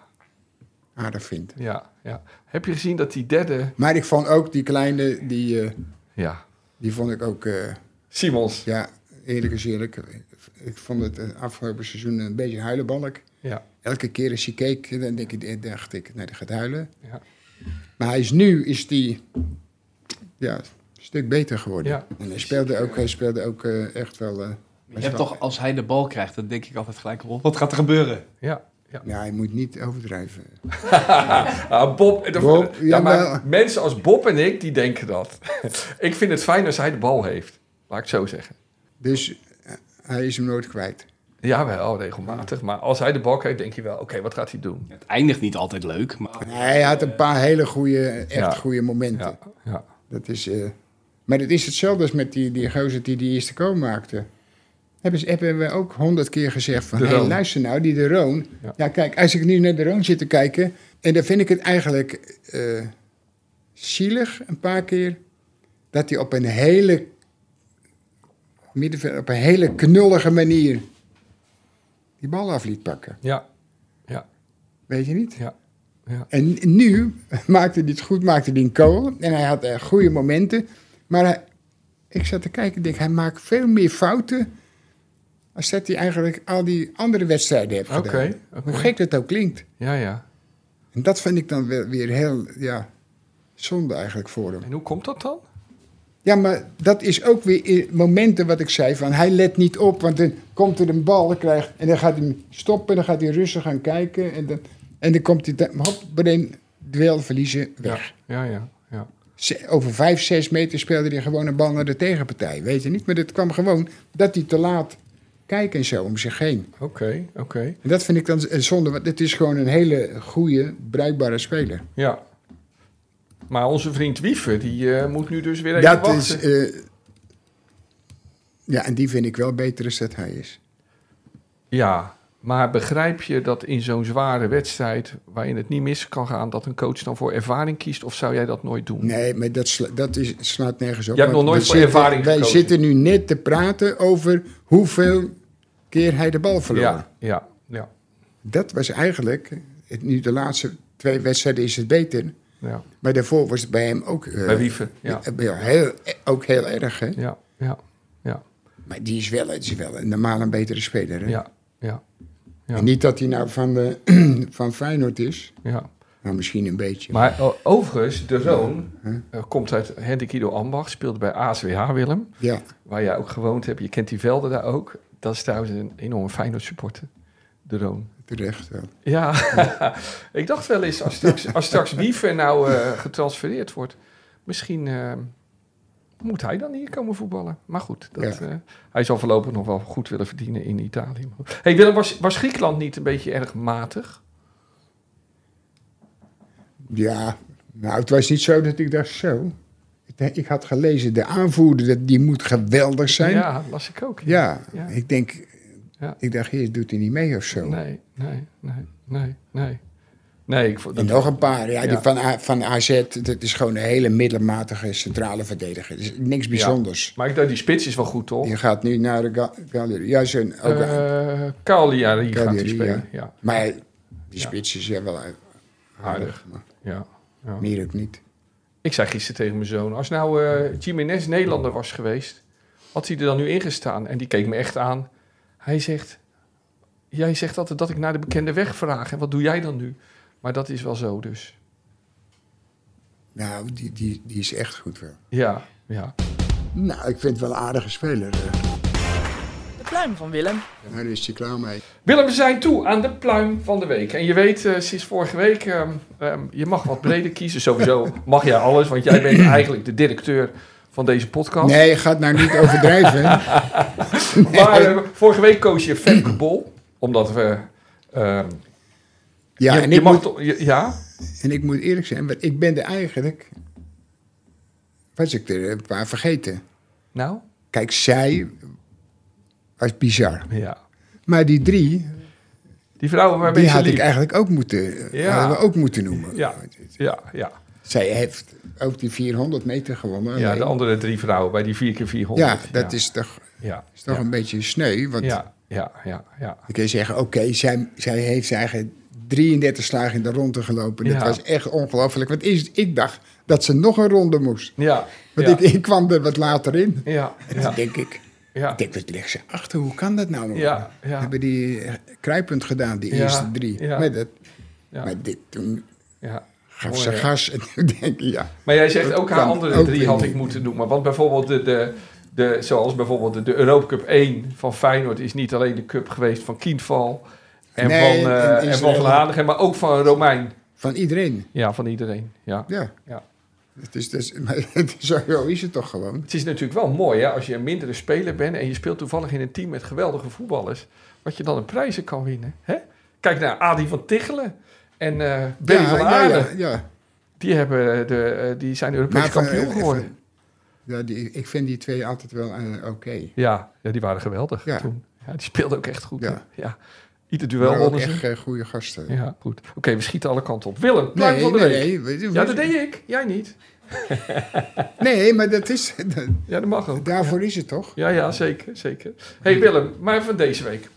Speaker 2: aardig vind.
Speaker 3: ja, ja. Heb je gezien dat die derde...
Speaker 2: Maar ik vond ook die kleine, die, eh,
Speaker 3: Ja,
Speaker 2: die vond ik ook, eh,
Speaker 3: Simons.
Speaker 2: ja, eerlijk is eerlijk. Ik vond het eh, afgelopen seizoen een beetje huilenbalk.
Speaker 3: Ja,
Speaker 2: Elke keer als hij keek, eh, dan denk ik, dacht ik, nee, die gaat huilen.
Speaker 3: Ja.
Speaker 2: Maar hij is nu is die, ja, een stuk beter geworden.
Speaker 3: Ja.
Speaker 2: En hij speelde ook, hij speelde ook eh, echt wel... eh,
Speaker 6: Je hebt toch, als hij de bal krijgt, dan denk ik altijd gelijk op. Wat gaat er gebeuren?
Speaker 3: ja, ja.
Speaker 2: ja, hij moet niet overdrijven.
Speaker 3: Ah, Bob, eh, dat-
Speaker 2: Bob,
Speaker 3: ja,
Speaker 2: ja,
Speaker 3: maar
Speaker 2: maar-
Speaker 3: mensen als Bob en ik, die denken dat. ik vind het fijn als hij de bal heeft. Laat ik het zo zeggen.
Speaker 2: Dus eh, hij is hem nooit kwijt.
Speaker 3: Jawel, regelmatig. Maar als hij de bal heeft, denk je wel, oké, wat gaat hij doen?
Speaker 6: Het eindigt niet altijd leuk, maar
Speaker 2: Hij had een paar hele goede, echt
Speaker 3: Ja.
Speaker 2: goede momenten.
Speaker 3: Ja, ja,
Speaker 2: Dat is, eh, maar het is hetzelfde als met die, die gozer die die eerste kool maakte. Hebben, ze, hebben we ook honderd keer gezegd van...
Speaker 3: De
Speaker 2: Hey,
Speaker 3: Roon.
Speaker 2: luister nou, die de Roon.
Speaker 3: Ja.
Speaker 2: Ja. kijk, als ik nu naar de Roon zit te kijken... en dan vind ik het eigenlijk eh, zielig een paar keer... dat hij op een hele... middenveld- op een hele knullige manier... die bal af liet pakken.
Speaker 3: ja,
Speaker 2: Weet je niet?
Speaker 3: ja. ja.
Speaker 2: En nu maakte hij het goed, maakte hij een kool. En hij had eh, goede momenten. Maar hij- ik zat te kijken, ik denk, hij maakt veel meer fouten. als dat hij eigenlijk al die andere wedstrijden heeft
Speaker 3: Oké,
Speaker 2: gedaan.
Speaker 3: oké.
Speaker 2: Hoe gek dat ook klinkt.
Speaker 3: Ja, ja.
Speaker 2: En dat vind ik dan wel weer heel, ja, zonde eigenlijk voor hem.
Speaker 3: En hoe komt dat dan?
Speaker 2: Ja, maar dat is ook weer i- momenten wat ik zei van hij let niet op, want dan komt er een bal dan krijgt, en dan gaat hij hem stoppen, dan gaat hij rustig gaan kijken en dan, en dan komt hij, da- hop, meteen duel verliezen, weg.
Speaker 3: Ja, ja, ja.
Speaker 2: Ze- Over vijf, zes meter speelde hij gewoon een bal naar de tegenpartij. Weet je niet? Maar dat kwam gewoon dat hij te laat kijkt en zo om zich heen.
Speaker 3: Oké, oké.
Speaker 2: En dat vind ik dan een zonde, want het is gewoon een hele goede, bruikbare speler.
Speaker 3: Ja. Maar onze vriend Wiever, die eh, moet nu dus weer even
Speaker 2: Dat
Speaker 3: wachten.
Speaker 2: is. eh, ja, en die vind ik wel beter als dat hij is.
Speaker 3: Ja, maar begrijp je dat in zo'n zware wedstrijd, waarin het niet mis kan gaan, dat een coach dan voor ervaring kiest? Of zou jij dat nooit doen?
Speaker 2: Nee, maar dat, sla- dat is, slaat nergens op.
Speaker 3: Jij hebt
Speaker 2: want
Speaker 3: nog nooit
Speaker 2: we
Speaker 3: voor
Speaker 2: zitten-
Speaker 3: ervaring
Speaker 2: Wij
Speaker 3: gekozen.
Speaker 2: zitten nu net te praten over hoeveel keer hij de bal verloor.
Speaker 3: ja, ja, ja,
Speaker 2: Dat was eigenlijk. het- nu de laatste twee wedstrijden is het beter.
Speaker 3: ja.
Speaker 2: Maar daarvoor was het bij hem ook... eh,
Speaker 3: Bij Wiever, ja.
Speaker 2: eh, ja, heel, eh, ook heel erg, hè?
Speaker 3: Ja, ja, ja,
Speaker 2: Maar die is wel, het is wel een normaal een betere speler, hè?
Speaker 3: ja, ja, Ja.
Speaker 2: En niet dat hij nou van, de, van Feyenoord is.
Speaker 3: Ja.
Speaker 2: Nou, misschien een beetje.
Speaker 3: Maar o- overigens, de zoon
Speaker 2: Huh?
Speaker 3: eh, komt uit Hendikido Ambach, speelde bij ASWH Willem,
Speaker 2: Ja,
Speaker 3: waar jij ook gewoond hebt. Je kent die velden daar ook. Dat is trouwens een enorme Feyenoord supporter, de Roon.
Speaker 2: terecht wel.
Speaker 3: Ja, ik dacht wel eens, als straks, als straks Wiever nou eh, getransfereerd wordt, misschien eh, moet hij dan hier komen voetballen. Maar goed, dat,
Speaker 2: Ja.
Speaker 3: eh, hij zal voorlopig nog wel goed willen verdienen in Italië. Hey Willem, was, was Griekenland niet een beetje erg matig?
Speaker 2: Ja, nou, het was niet zo dat ik dacht zo. Ik- Ik had gelezen, de aanvoerder, dat- die moet geweldig zijn. Ja,
Speaker 3: Ja, las ik ook. Ja.
Speaker 2: ik denk...
Speaker 3: Ja.
Speaker 2: Ik dacht, eerst doet hij niet mee of zo.
Speaker 3: Nee, nee, nee, nee, nee. Nee, ik vond
Speaker 2: En
Speaker 3: dat...
Speaker 2: nog een paar. Ja,
Speaker 3: Ja.
Speaker 2: Die van, A- van AZ, dat is gewoon een hele middelmatige centrale verdediger. Dus niks bijzonders.
Speaker 3: Maar ik dacht, die spits is wel goed, toch?
Speaker 2: Je gaat nu naar de ga- galerie. Ja, zo'n ook een-
Speaker 3: Oh. Eh Cagliari gaat hij
Speaker 2: Cagliari,
Speaker 3: spelen. Ja,
Speaker 2: Maar die spits is ja wel aardig.
Speaker 3: aardig.
Speaker 2: Maar
Speaker 3: Ja. Ja.
Speaker 2: meer ook niet.
Speaker 3: Ik zei gisteren tegen mijn zoon, als nou eh Jiménez Nederlander was geweest, had hij er dan nu ingestaan? En die keek me echt aan. Hij zegt, jij zegt altijd dat ik naar de bekende weg vraag. En wat doe jij dan nu? Maar dat is wel zo dus.
Speaker 2: Nou, die, die, die is echt goed wel.
Speaker 3: Ja, ja.
Speaker 2: Nou, ik vind het wel een aardige speler. eh.
Speaker 4: De pluim van Willem.
Speaker 2: Daar is hij klaar mee.
Speaker 3: Willem, we zijn toe aan de pluim van de week. En je weet, eh, sinds vorige week, ehm, ehm, je mag wat breder kiezen. Sowieso mag jij alles, want jij bent eigenlijk de directeur van deze podcast.
Speaker 2: Nee, ga het nou niet overdrijven.
Speaker 3: Maar eh, vorige week koos je Femke Bol, omdat we... ehm,
Speaker 2: Ja,
Speaker 3: je,
Speaker 2: en,
Speaker 3: je
Speaker 2: ik
Speaker 3: mag
Speaker 2: moet,
Speaker 3: toch- je- ja?
Speaker 2: en ik moet eerlijk zijn, want ik ben er eigenlijk... Was ik er een paar vergeten.
Speaker 3: Nou?
Speaker 2: Kijk, zij was bizar.
Speaker 3: Ja.
Speaker 2: Maar die drie,
Speaker 3: Die vrouwen waarmee
Speaker 2: die
Speaker 3: ze
Speaker 2: had
Speaker 3: liep.
Speaker 2: ik eigenlijk ook moeten,
Speaker 3: Ja.
Speaker 2: hadden we ook moeten noemen.
Speaker 3: Ja, ja, ja.
Speaker 2: Zij heeft ook die 400 meter gewonnen.
Speaker 3: ja,
Speaker 2: Alleen-
Speaker 3: de andere drie vrouwen bij die 4 keer 400
Speaker 2: ja dat Is toch,
Speaker 3: Ja,
Speaker 2: is toch
Speaker 3: ja,
Speaker 2: een beetje sneu. Want
Speaker 3: ja, ja, ja, ja.
Speaker 2: dan kun je zeggen, oké, zij, zij heeft zijn eigen 33 slagen in de ronde gelopen.
Speaker 3: Ja.
Speaker 2: Dat was echt ongelooflijk. Want eerst, ik dacht dat ze nog een ronde moest.
Speaker 3: Ja,
Speaker 2: Want
Speaker 3: ja,
Speaker 2: ik, ik kwam er wat later in.
Speaker 3: ja,
Speaker 2: En
Speaker 3: ja,
Speaker 2: toen denk ik,
Speaker 3: ja,
Speaker 2: ik denk, wat ligt ze achter? Hoe kan dat nou?
Speaker 3: ja, ja,
Speaker 2: Hebben die eh, kruipend gedaan, die
Speaker 3: Ja,
Speaker 2: eerste drie.
Speaker 3: ja.
Speaker 2: Maar, dat,
Speaker 3: Ja.
Speaker 2: maar dit, toen
Speaker 3: ja.
Speaker 2: gaf
Speaker 3: Mooi,
Speaker 2: ze
Speaker 3: hè?
Speaker 2: gas. En toen denk ik, ja.
Speaker 3: Maar jij zegt ook haar
Speaker 2: Kan
Speaker 3: andere
Speaker 2: ook
Speaker 3: drie
Speaker 2: weer
Speaker 3: had
Speaker 2: niet.
Speaker 3: ik moeten noemen. Want bijvoorbeeld, de, de, de, zoals bijvoorbeeld de, de Europa Cup 1 van Feyenoord is niet alleen de cup geweest van Kienval en
Speaker 2: Nee,
Speaker 3: van,
Speaker 2: en
Speaker 3: eh en van
Speaker 2: Israël.
Speaker 3: Van Hanegem, maar ook van Romein.
Speaker 2: Van iedereen.
Speaker 3: Ja, van iedereen. Ja.
Speaker 2: Ja.
Speaker 3: Ja.
Speaker 2: Het is, dus, maar het is, zo is het toch gewoon?
Speaker 3: Het is natuurlijk wel mooi hè, als je een mindere speler bent en je speelt toevallig in een team met geweldige voetballers, wat je dan een prijzen kan winnen. Hè? Kijk naar Adi van Tichelen en eh Berry van
Speaker 2: ja,
Speaker 3: Aarden.
Speaker 2: ja, ja.
Speaker 3: Die, hebben eh, de, eh, die zijn Europees
Speaker 2: Maar van-
Speaker 3: kampioen
Speaker 2: eh,
Speaker 3: geworden.
Speaker 2: van- Ja, die, ik vind die twee altijd wel eh, oké.
Speaker 3: ja, ja, die waren geweldig
Speaker 2: Ja.
Speaker 3: toen. Ja, die speelden ook echt goed. hè?
Speaker 2: Ja.
Speaker 3: Ja. Ieder
Speaker 2: Maar
Speaker 3: duel
Speaker 2: ook
Speaker 3: wonnen ze.
Speaker 2: echt eh, goede gasten.
Speaker 3: Ja, goed. Oké, we schieten alle kanten op. Willem, pluim
Speaker 2: Nee,
Speaker 3: van de
Speaker 2: nee,
Speaker 3: week.
Speaker 2: nee, weet je-
Speaker 3: Ja, dat deed ik. Jij niet.
Speaker 2: nee, maar dat is,
Speaker 3: Ja, dat mag ook.
Speaker 2: daarvoor is het toch?
Speaker 3: Ja, ja, zeker, zeker. hey, Willem, maar van deze week.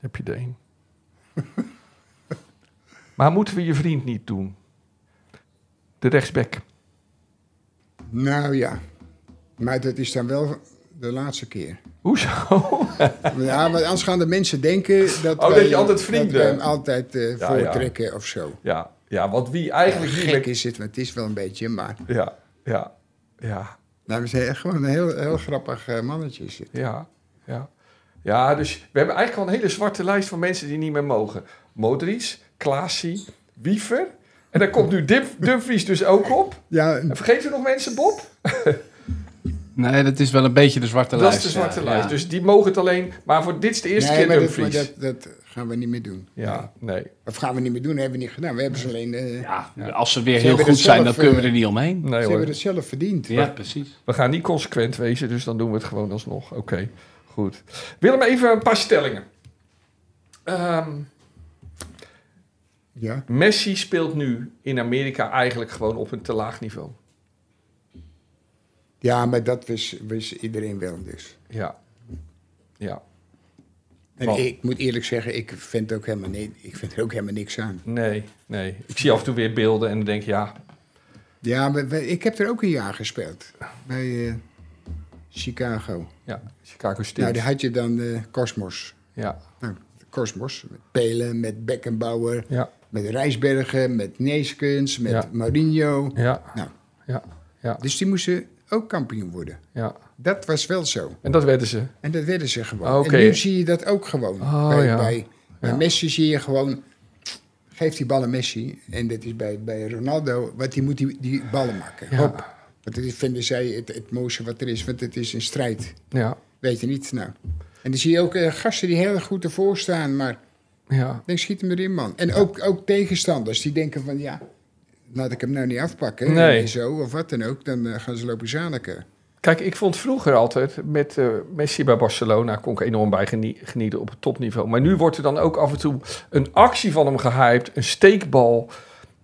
Speaker 3: Heb je de één. maar moeten we je vriend niet doen? De rechtsback.
Speaker 2: Nou ja, maar dat is dan wel de laatste keer.
Speaker 3: Hoezo?
Speaker 2: Ja, maar anders gaan de mensen denken dat,
Speaker 3: Oh,
Speaker 2: wij-
Speaker 3: dat je altijd vrienden-
Speaker 2: dat wij hem altijd eh,
Speaker 3: Ja,
Speaker 2: voortrekken of zo.
Speaker 3: ja, ja, want wie eigenlijk niet
Speaker 2: Gek is het, want het is wel een beetje, maar...
Speaker 3: met- Ja, ja, ja,
Speaker 2: Nou, we zijn echt gewoon een heel, heel grappig eh, mannetje is het.
Speaker 3: ja, ja. Ja, dus we hebben eigenlijk al een hele zwarte lijst van mensen die niet meer mogen. Modric, Klaasie, Wiever. En daar komt nu Dip- Dumfries dus ook op.
Speaker 2: Ja,
Speaker 3: En Vergeten we nog mensen, Bob?
Speaker 6: Nee, dat is wel een beetje de zwarte
Speaker 3: Dat
Speaker 6: lijst.
Speaker 3: is de zwarte
Speaker 6: ja,
Speaker 3: lijst.
Speaker 6: ja.
Speaker 3: Dus die mogen het alleen. Maar voor dit is de eerste
Speaker 2: nee,
Speaker 3: keer
Speaker 2: maar dat, maar
Speaker 3: Dumfries.
Speaker 2: dat, dat gaan we niet meer doen.
Speaker 3: Ja, nee.
Speaker 2: Of gaan we niet meer doen, hebben we niet gedaan. We hebben ze alleen... eh,
Speaker 6: Ja, als ze weer
Speaker 2: Ze
Speaker 6: heel
Speaker 2: hebben
Speaker 6: goed
Speaker 2: er
Speaker 6: zijn,
Speaker 2: zelf,
Speaker 6: dan kunnen we
Speaker 2: eh,
Speaker 6: er niet omheen.
Speaker 3: Nee
Speaker 2: Ze hebben
Speaker 3: hoor.
Speaker 2: het zelf verdiend.
Speaker 6: Ja, precies.
Speaker 3: We gaan niet consequent wezen, dus dan doen we het gewoon alsnog. Oké, goed. Willem, even een paar stellingen. Ehm,
Speaker 2: Ja.
Speaker 3: Messi speelt nu in Amerika eigenlijk gewoon op een te laag niveau.
Speaker 2: ja, maar dat wist, wist iedereen wel dus.
Speaker 3: Ja. Ja.
Speaker 2: En
Speaker 3: Want-
Speaker 2: ik moet eerlijk zeggen, ik vind, ook helemaal ni- ik vind er ook helemaal niks aan.
Speaker 3: Nee, nee. Ik zie af en toe weer beelden en dan denk ik, ja,
Speaker 2: Ja, maar, wij- ik heb er ook een jaar gespeeld. Bij eh, Chicago.
Speaker 3: ja Chicago
Speaker 2: Nou,
Speaker 3: Stinks.
Speaker 2: daar had je dan eh Cosmos.
Speaker 3: Ja.
Speaker 2: Nou, Cosmos. Met Pelen, met Beckenbauer,
Speaker 3: Ja,
Speaker 2: met Rijsbergen, met Neeskens, met
Speaker 3: Ja.
Speaker 2: Mourinho.
Speaker 3: ja,
Speaker 2: Nou,
Speaker 3: ja, ja,
Speaker 2: dus die moesten ook kampioen worden.
Speaker 3: ja.
Speaker 2: Dat was wel zo.
Speaker 3: En dat werden ze.
Speaker 2: En dat werden ze gewoon.
Speaker 3: Ah, oké.
Speaker 2: En nu zie je dat ook gewoon.
Speaker 3: Oh,
Speaker 2: bij,
Speaker 3: ja.
Speaker 2: bij, bij
Speaker 3: Ja.
Speaker 2: Messi zie je gewoon... Geef die ballen Messi. En dat is bij, bij Ronaldo. Want die moet die, die ballen maken.
Speaker 3: Ja.
Speaker 2: Hop. Want dat vinden zij het, het mooiste wat er is. Want het is een strijd.
Speaker 3: Ja,
Speaker 2: Weet je niet. Nou. En dan zie je ook eh, gasten die heel erg goed ervoor staan. Maar
Speaker 3: ja,
Speaker 2: denk, schiet hem erin, man. En ook, ook tegenstanders die denken van... Ja, laat ik hem nou niet afpakken.
Speaker 3: Nee.
Speaker 2: En zo, of wat dan ook. Dan eh, gaan ze lopen zaniken.
Speaker 3: Kijk, ik vond vroeger altijd met eh, Messi bij Barcelona kon ik enorm bij genie- genieten op het topniveau. Maar nu wordt er dan ook af en toe een actie van hem gehyped, een steekbal.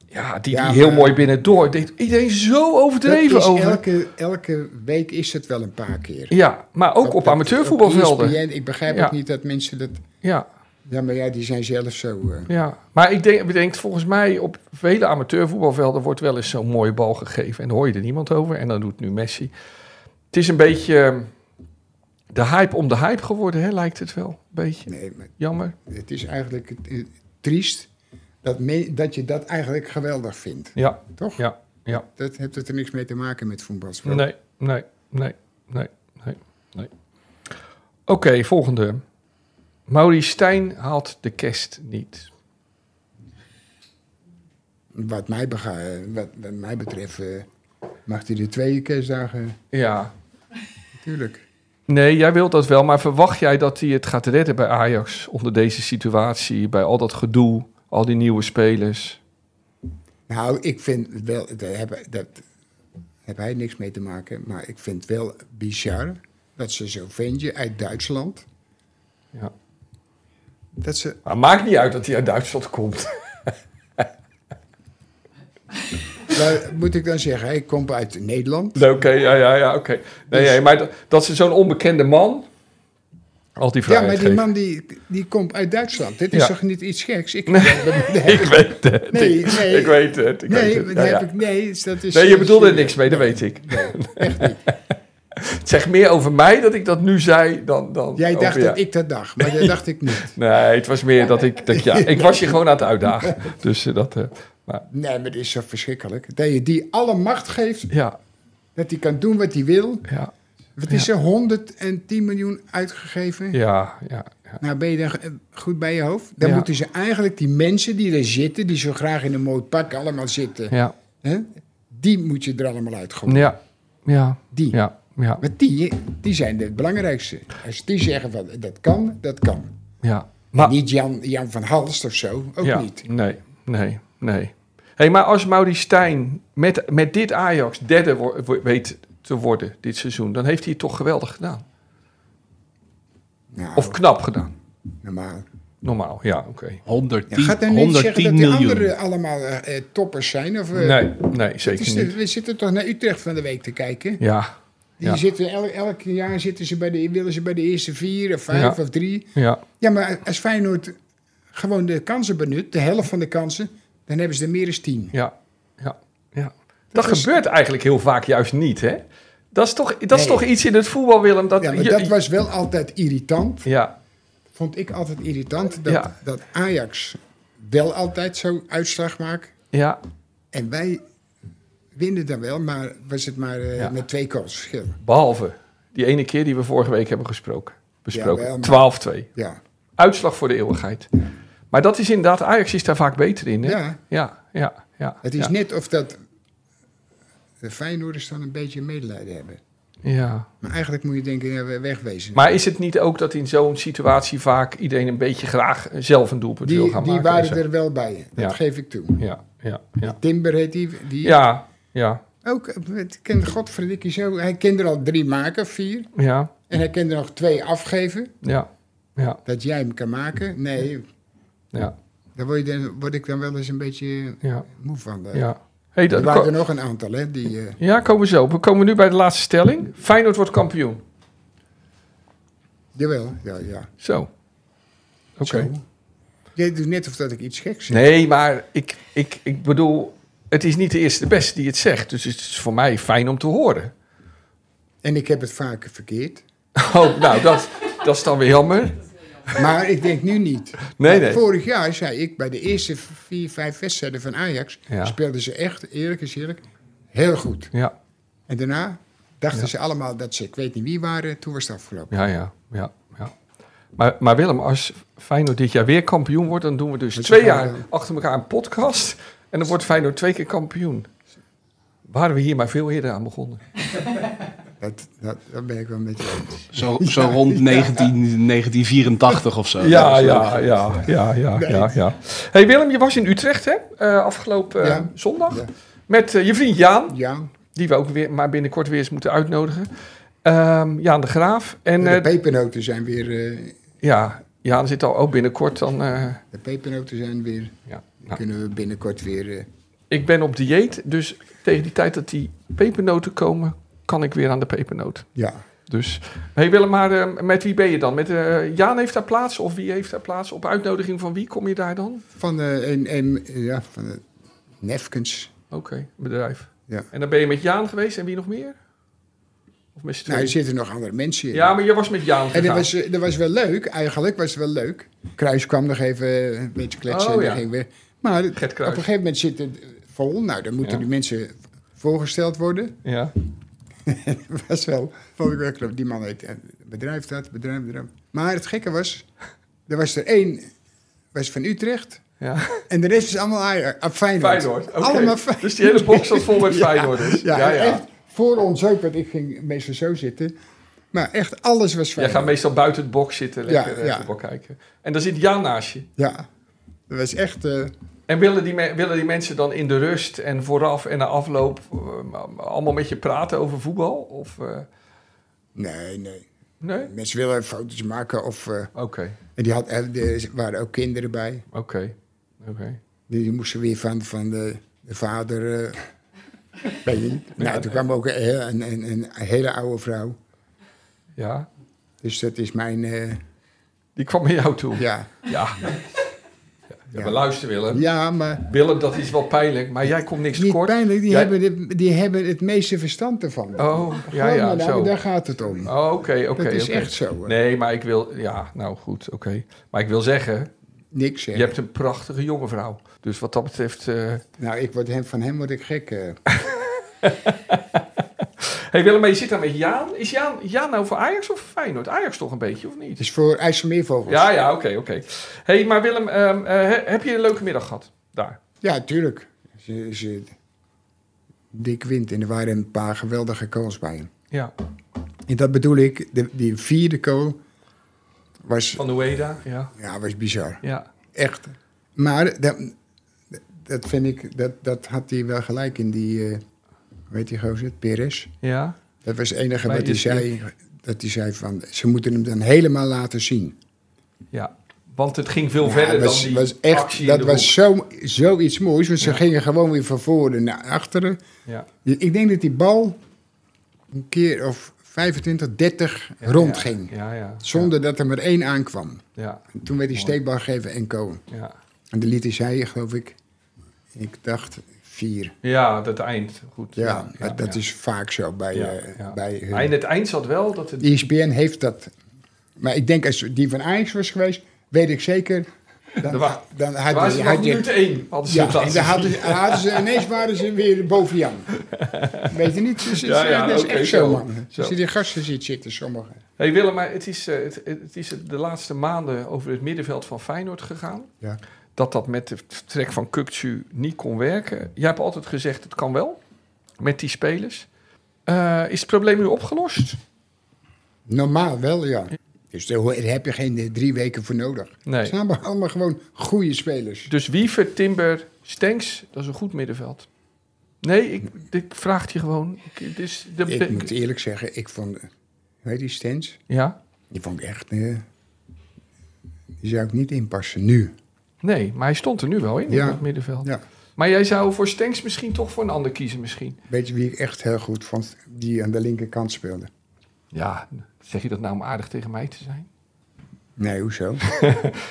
Speaker 3: Ja, die,
Speaker 2: Ja,
Speaker 3: die heel
Speaker 2: maar-
Speaker 3: mooi binnendoor. Ik deed iedereen zo overdreven
Speaker 2: Dat is
Speaker 3: over.
Speaker 2: Elke, elke week is het wel een paar keer.
Speaker 3: Ja, maar ook op
Speaker 2: dat-
Speaker 3: amateurvoetbalvelden.
Speaker 2: op ESPN, ik begrijp
Speaker 3: Ja.
Speaker 2: ook niet dat mensen dat...
Speaker 3: ja,
Speaker 2: Ja, maar ja, die zijn zelf zo... eh.
Speaker 3: ja. Maar ik denk, bedenk, volgens mij op vele amateurvoetbalvelden wordt wel eens zo'n mooie bal gegeven. En dan hoor je er niemand over. En dan doet nu Messi. Het is een beetje eh, de hype om de hype geworden, hè, lijkt het wel. Een beetje
Speaker 2: Nee, maar
Speaker 3: jammer.
Speaker 2: het is eigenlijk eh, triest dat, me- dat je dat eigenlijk geweldig vindt.
Speaker 3: Ja,
Speaker 2: Toch?
Speaker 3: ja, ja.
Speaker 2: Dat heeft het er niks mee te maken met voetbalsport.
Speaker 3: Nee, nee, nee, nee, nee, nee. Oké, volgende. Maurice Stijn haalt de kerst niet.
Speaker 2: Wat, mij bega- eh, wat, wat mij betreft eh, mag hij de twee kerstdagen...
Speaker 3: Ja.
Speaker 2: Natuurlijk.
Speaker 3: Nee, jij wilt dat wel, maar verwacht jij dat hij het gaat redden bij Ajax onder deze situatie, bij al dat gedoe, al die nieuwe spelers?
Speaker 2: Nou, ik vind het wel... Daar heb, dat heb hij niks mee te maken. Maar ik vind het wel bizar dat ze zo'n ventje uit Duitsland...
Speaker 3: Ja.
Speaker 2: Dat ze
Speaker 3: Maar maakt niet uit dat hij uit Duitsland komt.
Speaker 2: Nou, moet ik dan zeggen, hij komt uit Nederland.
Speaker 3: Nee, oké, ja, ja, ja, oké. Nee,
Speaker 2: Dus-
Speaker 3: nee, maar dat, dat ze zo'n onbekende man al die
Speaker 2: Ja,
Speaker 3: vrijheid
Speaker 2: maar die
Speaker 3: geven.
Speaker 2: man die, die komt uit Duitsland. Dit is
Speaker 3: Ja.
Speaker 2: toch niet iets geks? Ik,
Speaker 3: Ik weet het.
Speaker 2: Nee,
Speaker 3: ik,
Speaker 2: nee.
Speaker 3: ik weet het. Ik weet
Speaker 2: nee,
Speaker 3: het.
Speaker 2: maar
Speaker 3: Ja,
Speaker 2: daar
Speaker 3: ja.
Speaker 2: heb ik, nee, dus dat is...
Speaker 3: Nee, je bedoelde er niks mee, dat weet ik. Het zegt meer over mij dat ik dat nu zei dan... dan
Speaker 2: Jij
Speaker 3: over
Speaker 2: dacht
Speaker 3: jou.
Speaker 2: dat ik dat dacht, maar dat dacht ik niet.
Speaker 3: Nee, het was meer dat ik... Dat, ja, ik was je gewoon aan het uitdagen. Dus eh, dat... eh, maar,
Speaker 2: Nee, maar dat is zo verschrikkelijk. Dat je die alle macht geeft,
Speaker 3: ja,
Speaker 2: dat hij kan doen wat hij wil.
Speaker 3: ja,
Speaker 2: Wat is er, 110 miljoen uitgegeven?
Speaker 3: ja, ja. ja.
Speaker 2: Nou, ben je dan eh, goed bij je hoofd? Dan
Speaker 3: Ja.
Speaker 2: moeten ze eigenlijk die mensen die er zitten, die zo graag in een mooi pak allemaal zitten,
Speaker 3: Ja,
Speaker 2: hè? die moet je er allemaal uitgooien.
Speaker 3: ja, ja,
Speaker 2: Die.
Speaker 3: ja, ja,
Speaker 2: Want die, die zijn het belangrijkste. Als die zeggen van dat kan, dat kan.
Speaker 3: ja. Maar,
Speaker 2: Niet Jan, Jan van Halst of zo, ook
Speaker 3: ja,
Speaker 2: niet.
Speaker 3: Nee, nee, nee. hey, maar als Maurice Stijn met, met dit Ajax derde wo- wo- weet te worden dit seizoen... dan heeft hij het toch geweldig gedaan.
Speaker 2: Nou,
Speaker 3: Of knap gedaan.
Speaker 2: normaal.
Speaker 3: Normaal, ja, oké.
Speaker 2: Eh,
Speaker 6: 110,
Speaker 2: Ja, gaat dan niet zeggen
Speaker 6: 110
Speaker 2: dat die
Speaker 6: miljoen.
Speaker 2: anderen allemaal eh, eh, toppers zijn? Of, eh,
Speaker 3: Nee, nee,
Speaker 2: het is eh,
Speaker 3: zeker
Speaker 2: de-
Speaker 3: niet.
Speaker 2: we zitten toch naar Utrecht van de week te kijken.
Speaker 3: Ja,
Speaker 2: Die
Speaker 3: Ja.
Speaker 2: zitten el- elk jaar zitten ze bij de, willen ze bij de eerste vier of vijf
Speaker 3: Ja.
Speaker 2: of drie.
Speaker 3: ja.
Speaker 2: Ja, maar als Feyenoord gewoon de kansen benut, de helft van de kansen, dan hebben ze er meer dan tien.
Speaker 3: Ja, ja, ja. Dat,
Speaker 2: is-
Speaker 3: gebeurt eigenlijk heel vaak juist niet, hè? Dat is toch, dat is
Speaker 2: Nee.
Speaker 3: toch iets in het voetbal, Willem? Dat,
Speaker 2: Ja, maar
Speaker 3: je-
Speaker 2: dat was wel altijd irritant.
Speaker 3: ja,
Speaker 2: vond ik altijd irritant dat,
Speaker 3: Ja.
Speaker 2: dat Ajax wel altijd zo uitslag maakt.
Speaker 3: ja,
Speaker 2: En wij winnen dan wel, maar was het maar eh,
Speaker 3: Ja.
Speaker 2: met twee goals verschil.
Speaker 3: behalve die ene keer die we vorige week hebben gesproken.
Speaker 2: Ja, wel,
Speaker 3: Besproken.
Speaker 2: maar-
Speaker 3: 12-2.
Speaker 2: Ja.
Speaker 3: Uitslag voor de eeuwigheid. Maar dat is inderdaad, Ajax is daar vaak beter in, hè?
Speaker 2: ja,
Speaker 3: ja, ja. ja,
Speaker 2: het is
Speaker 3: ja.
Speaker 2: net of dat de Feyenoorders dan een beetje medelijden hebben.
Speaker 3: Ja.
Speaker 2: Maar eigenlijk moet je denken, ja, we- wegwezen.
Speaker 3: Maar is het niet ook dat in zo'n situatie vaak iedereen een beetje graag zelf een doelpunt wil
Speaker 2: die
Speaker 3: gaan
Speaker 2: die
Speaker 3: maken? en
Speaker 2: waren
Speaker 3: zo?
Speaker 2: er wel bij, dat
Speaker 3: Ja.
Speaker 2: geef ik toe.
Speaker 3: Ja, ja, ja.
Speaker 2: Timber heet die, die
Speaker 3: Ja, ja,
Speaker 2: ook, eh, het kent Godverdikkie zo, hij kende er al drie maken, vier.
Speaker 3: ja,
Speaker 2: En hij kende er nog twee afgeven,
Speaker 3: ja, ja,
Speaker 2: dat jij hem kan maken. Nee,
Speaker 3: ja.
Speaker 2: Daar word, je dan, word ik dan wel eens een beetje
Speaker 3: ja.
Speaker 2: moe van. eh.
Speaker 3: Ja. Hey,
Speaker 2: Er
Speaker 3: dat,
Speaker 2: waren er nog een aantal, hè? Die, eh,
Speaker 3: ja, komen we zo. We komen nu bij de laatste stelling. Feyenoord wordt kampioen.
Speaker 2: jawel, ja, ja.
Speaker 3: Zo. Oké.
Speaker 2: Zo. Jij doet net of dat ik iets geks zeg.
Speaker 3: Nee, maar ik, ik, ik bedoel, het is niet de eerste de beste die het zegt. Dus het is voor mij fijn om te horen.
Speaker 2: En ik heb het vaker verkeerd.
Speaker 3: Oh, nou, dat, dat is dan weer jammer.
Speaker 2: Maar ik denk nu niet.
Speaker 3: Nee,
Speaker 2: Want
Speaker 3: nee.
Speaker 2: Vorig jaar zei ik, bij de eerste vier, vijf wedstrijden van Ajax...
Speaker 3: Ja.
Speaker 2: speelden ze echt, eerlijk is eerlijk, heel goed.
Speaker 3: Ja,
Speaker 2: En daarna dachten
Speaker 3: Ja.
Speaker 2: ze allemaal dat ze, ik weet niet wie waren, toen was het afgelopen.
Speaker 3: ja, ja. ja, ja. Maar, maar Willem, als Feyenoord dit jaar weer kampioen wordt... dan doen we dus
Speaker 2: Met
Speaker 3: twee
Speaker 2: elkaar,
Speaker 3: jaar
Speaker 2: ja.
Speaker 3: achter elkaar een podcast... en dan wordt Feyenoord twee keer kampioen. Waren we hier maar veel eerder aan begonnen.
Speaker 2: Dat, dat, dat ben ik wel met je eens.
Speaker 6: Zo, zo rond 19, 1984 of zo.
Speaker 3: Ja, ja, ja, ja, ja, ja, ja. hey Willem, je was in Utrecht hè? Eh, afgelopen eh,
Speaker 2: Ja.
Speaker 3: zondag.
Speaker 2: Ja.
Speaker 3: Met eh, je vriend Jaan,
Speaker 2: Ja,
Speaker 3: die we ook weer, maar binnenkort weer eens moeten uitnodigen. Ehm, Jaan de Graaf. En
Speaker 2: de
Speaker 3: eh,
Speaker 2: pepernoten zijn weer... eh,
Speaker 3: ja, Jaan zit al ook binnenkort dan. eh,
Speaker 2: de pepernoten zijn weer...
Speaker 3: ja.
Speaker 2: die
Speaker 3: Nou,
Speaker 2: kunnen we binnenkort weer... eh,
Speaker 3: ik ben op dieet, dus tegen die tijd dat die pepernoten komen, kan ik weer aan de pepernoot.
Speaker 2: ja,
Speaker 3: Dus, hey Willem, maar eh, met wie ben je dan? Met, eh, Jaan heeft daar plaats of wie heeft daar plaats? Op uitnodiging van wie kom je daar dan?
Speaker 2: van de... Een, een, ja, van de Nefkens.
Speaker 3: Oké, bedrijf.
Speaker 2: Ja.
Speaker 3: En dan ben je met Jaan geweest en wie nog meer? Of met z'n
Speaker 2: Nou,
Speaker 3: tweeën?
Speaker 2: er zitten nog andere mensen in.
Speaker 3: ja, maar je was met Jaan
Speaker 2: En dat
Speaker 3: gegaan.
Speaker 2: was, eh, dat was wel leuk, eigenlijk was het wel leuk. Kruis kwam nog even eh, een beetje kletsen
Speaker 3: Oh,
Speaker 2: en
Speaker 3: ja.
Speaker 2: dan ging weer. Maar op
Speaker 3: Gert
Speaker 2: een
Speaker 3: Kruijs.
Speaker 2: gegeven moment zit het eh, vol. Nou, dan moeten
Speaker 3: Ja.
Speaker 2: die mensen voorgesteld worden.
Speaker 3: Ja.
Speaker 2: Dat was wel, vond ik wel knap. Die man heet eh, bedrijf dat, bedrijf, bedrijf. Maar het gekke was, er was er één was van Utrecht
Speaker 3: ja.
Speaker 2: en de rest is allemaal Aja- ah, Feyenoord.
Speaker 3: Feyenoord. oké.
Speaker 2: Allemaal Feyenoord.
Speaker 3: Dus die hele box zat vol met Feyenoorders.
Speaker 2: Ja,
Speaker 3: Ja, ja.
Speaker 2: echt voor ons ook, want ik ging meestal zo zitten. Maar echt alles was
Speaker 3: Jij
Speaker 2: Feyenoord.
Speaker 3: gaat meestal buiten het box zitten, lekker
Speaker 2: Ja,
Speaker 3: eh,
Speaker 2: ja.
Speaker 3: voetbal kijken. En dan zit Jaan naast je.
Speaker 2: Ja, dat was echt... eh,
Speaker 3: En willen die, me- willen die mensen dan in de rust en vooraf en na afloop eh, allemaal met je praten over voetbal? Of, eh,
Speaker 2: nee, nee.
Speaker 3: nee?
Speaker 2: Mensen willen foto's maken of... eh,
Speaker 3: Oké,
Speaker 2: en die had, eh, er waren ook kinderen bij.
Speaker 3: oké. Oké.
Speaker 2: Die moesten weer van, van de, de vader... eh weet je niet. Nou, toen kwam ook een, een, een, een hele oude vrouw.
Speaker 3: Ja.
Speaker 2: Dus dat is mijn... eh,
Speaker 3: Die kwam naar jou toe. Ja.
Speaker 2: ja.
Speaker 3: Ja.
Speaker 2: Ja.
Speaker 3: Maar luister Willem.
Speaker 2: ja, maar
Speaker 3: Willem, dat is wel pijnlijk, maar jij komt niks
Speaker 2: niet
Speaker 3: kort.
Speaker 2: pijnlijk. Die,
Speaker 3: Jij-
Speaker 2: hebben de- die hebben het meeste verstand ervan.
Speaker 3: Oh, ja,
Speaker 2: Geloof
Speaker 3: ja,
Speaker 2: me nou,
Speaker 3: zo.
Speaker 2: Daar gaat het om.
Speaker 3: Oh, Oké, oké,
Speaker 2: dat is
Speaker 3: oké.
Speaker 2: echt zo. hè.
Speaker 3: Nee, maar ik wil... Ja, nou goed, oké. Maar ik wil zeggen,
Speaker 2: Niks
Speaker 3: je
Speaker 2: zeggen.
Speaker 3: hebt een prachtige jonge vrouw. Dus wat dat betreft... eh
Speaker 2: Nou, ik word hem, van hem word ik gek. eh.
Speaker 3: hey Willem, maar je zit daar met Jaan. Is Jaan, Jaan nou voor Ajax of voor Feyenoord? Ajax toch een beetje, of niet?
Speaker 2: Het is voor IJsselmeervogels.
Speaker 3: Ja, ja, oké, oké. hey, maar Willem, ehm, eh, he- heb je een leuke middag gehad? Daar.
Speaker 2: Ja, tuurlijk. Ze, ze, dik wint. En er waren een paar geweldige kools bij hem.
Speaker 3: Ja.
Speaker 2: En dat bedoel ik, de, die vierde kool was,
Speaker 3: Van de Ueda. Ja.
Speaker 2: ja, was bizar.
Speaker 3: Ja.
Speaker 2: Echt. Maar dat, dat vind ik, dat, dat had hij wel gelijk in die, eh hoe heet die gozer, Perez.
Speaker 3: Ja.
Speaker 2: Dat was het enige
Speaker 3: Maar
Speaker 2: wat hij
Speaker 3: is-
Speaker 2: zei, dat hij zei van, ze moeten hem dan helemaal laten zien.
Speaker 3: Ja. Want het ging veel
Speaker 2: Ja,
Speaker 3: verder
Speaker 2: was,
Speaker 3: dan die
Speaker 2: was echt,
Speaker 3: actie
Speaker 2: Dat
Speaker 3: in de
Speaker 2: was
Speaker 3: hoek.
Speaker 2: zo, zoiets moois, want ze gingen gewoon weer van voren naar achteren.
Speaker 3: Ja.
Speaker 2: Ik denk dat die bal een keer of 25, 30 rondging.
Speaker 3: Ja, ja.
Speaker 2: Zonder dat er maar één aankwam.
Speaker 3: Ja,
Speaker 2: En toen werd hij steekbal gegeven en Cohen.
Speaker 3: ja.
Speaker 2: En de liet zij, geloof ik, ik dacht vier.
Speaker 3: Ja, dat eind. Goed.
Speaker 2: Ja, maar dat is vaak zo bij,
Speaker 3: Ja,
Speaker 2: eh,
Speaker 3: ja.
Speaker 2: bij hun. E
Speaker 3: Maar in het eind zat wel dat het...
Speaker 2: ESPN heeft dat. Maar ik denk, als die van Ajax was geweest, weet ik zeker... Dan,
Speaker 3: Er wa-
Speaker 2: dan had,
Speaker 3: Waar
Speaker 2: hij-
Speaker 3: is het
Speaker 2: had
Speaker 3: nog
Speaker 2: je-
Speaker 3: minuut één? Hadden ze
Speaker 2: Ja,
Speaker 3: dat
Speaker 2: en dan hadden,
Speaker 3: gezien.
Speaker 2: ze- hadden ze, ineens waren ze weer boven Jan. Weet je niet? Dus,
Speaker 3: Ja, ja,
Speaker 2: dat is
Speaker 3: oké,
Speaker 2: echt
Speaker 3: zo,
Speaker 2: zo, man.
Speaker 3: zo.
Speaker 2: Als je die gasten ziet zitten, sommigen.
Speaker 3: Hey Willem, maar het is, eh, het, het is de laatste maanden over het middenveld van Feyenoord gegaan.
Speaker 2: Ja.
Speaker 3: Dat dat met het vertrek van Kukcu niet kon werken. Jij hebt altijd gezegd, het kan wel. Met die spelers. Eh, is het probleem nu opgelost?
Speaker 2: Normaal wel, ja. Dus daar ho- daar heb je geen eh, drie weken voor nodig.
Speaker 3: Nee.
Speaker 2: Het zijn allemaal- allemaal gewoon goede spelers.
Speaker 3: Dus Wiever, Timber, Stenks, dat is een goed middenveld. Nee, ik, ik vraag het je gewoon. Ik, het is de,
Speaker 2: Ik moet eerlijk zeggen, ik vond... Weet die Stens?
Speaker 3: Ja?
Speaker 2: Die vond ik echt... eh, die zou ik niet inpassen, nu.
Speaker 3: Nee, maar hij stond er nu wel in,
Speaker 2: Ja.
Speaker 3: op het middenveld.
Speaker 2: Ja.
Speaker 3: Maar jij zou voor Stenks misschien toch voor een ander kiezen misschien?
Speaker 2: Weet je wie ik echt heel goed vond? Die aan de linkerkant speelde.
Speaker 3: Ja, zeg je dat nou om aardig tegen mij te zijn?
Speaker 2: Nee, hoezo?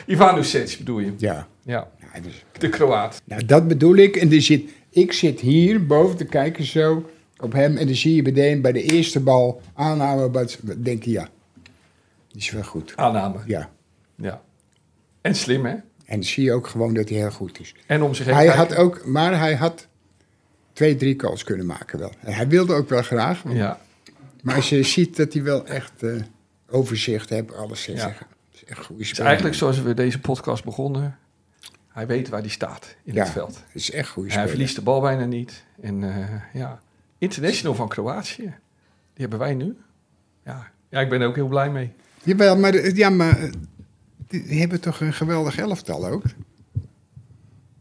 Speaker 3: Ivan Sets bedoel je?
Speaker 2: ja.
Speaker 3: Ja,
Speaker 2: Ja, hij was-
Speaker 3: de Kroaat.
Speaker 2: Nou, dat bedoel ik. En er zit, ik zit hier boven te kijken zo op hem. En dan zie je meteen bij de eerste bal aanhouden. Maar dan denk je, ja, die is wel goed.
Speaker 3: Aanname.
Speaker 2: Ja,
Speaker 3: Ja. En slim, hè?
Speaker 2: En zie je ook gewoon dat hij heel goed is.
Speaker 3: En om zich heen
Speaker 2: Hij
Speaker 3: kijken.
Speaker 2: had ook, maar hij had twee, drie calls kunnen maken wel. En hij wilde ook wel graag.
Speaker 3: Ja,
Speaker 2: Maar als je ziet dat hij wel echt eh, overzicht heeft, alles te
Speaker 3: Ja.
Speaker 2: zeggen. Dat is echt een goede
Speaker 3: het
Speaker 2: speler.
Speaker 3: is eigenlijk zoals we deze podcast begonnen. Hij weet waar hij staat in
Speaker 2: Ja.
Speaker 3: het veld.
Speaker 2: Dat is echt een goede
Speaker 3: Hij
Speaker 2: speler.
Speaker 3: verliest de bal bijna niet. En eh, ja, international van Kroatië. Die hebben wij nu. Ja, ja ik ben er ook heel blij mee.
Speaker 2: Jawel, maar, de- ja, maar eh, die die hebben toch een geweldig elftal ook?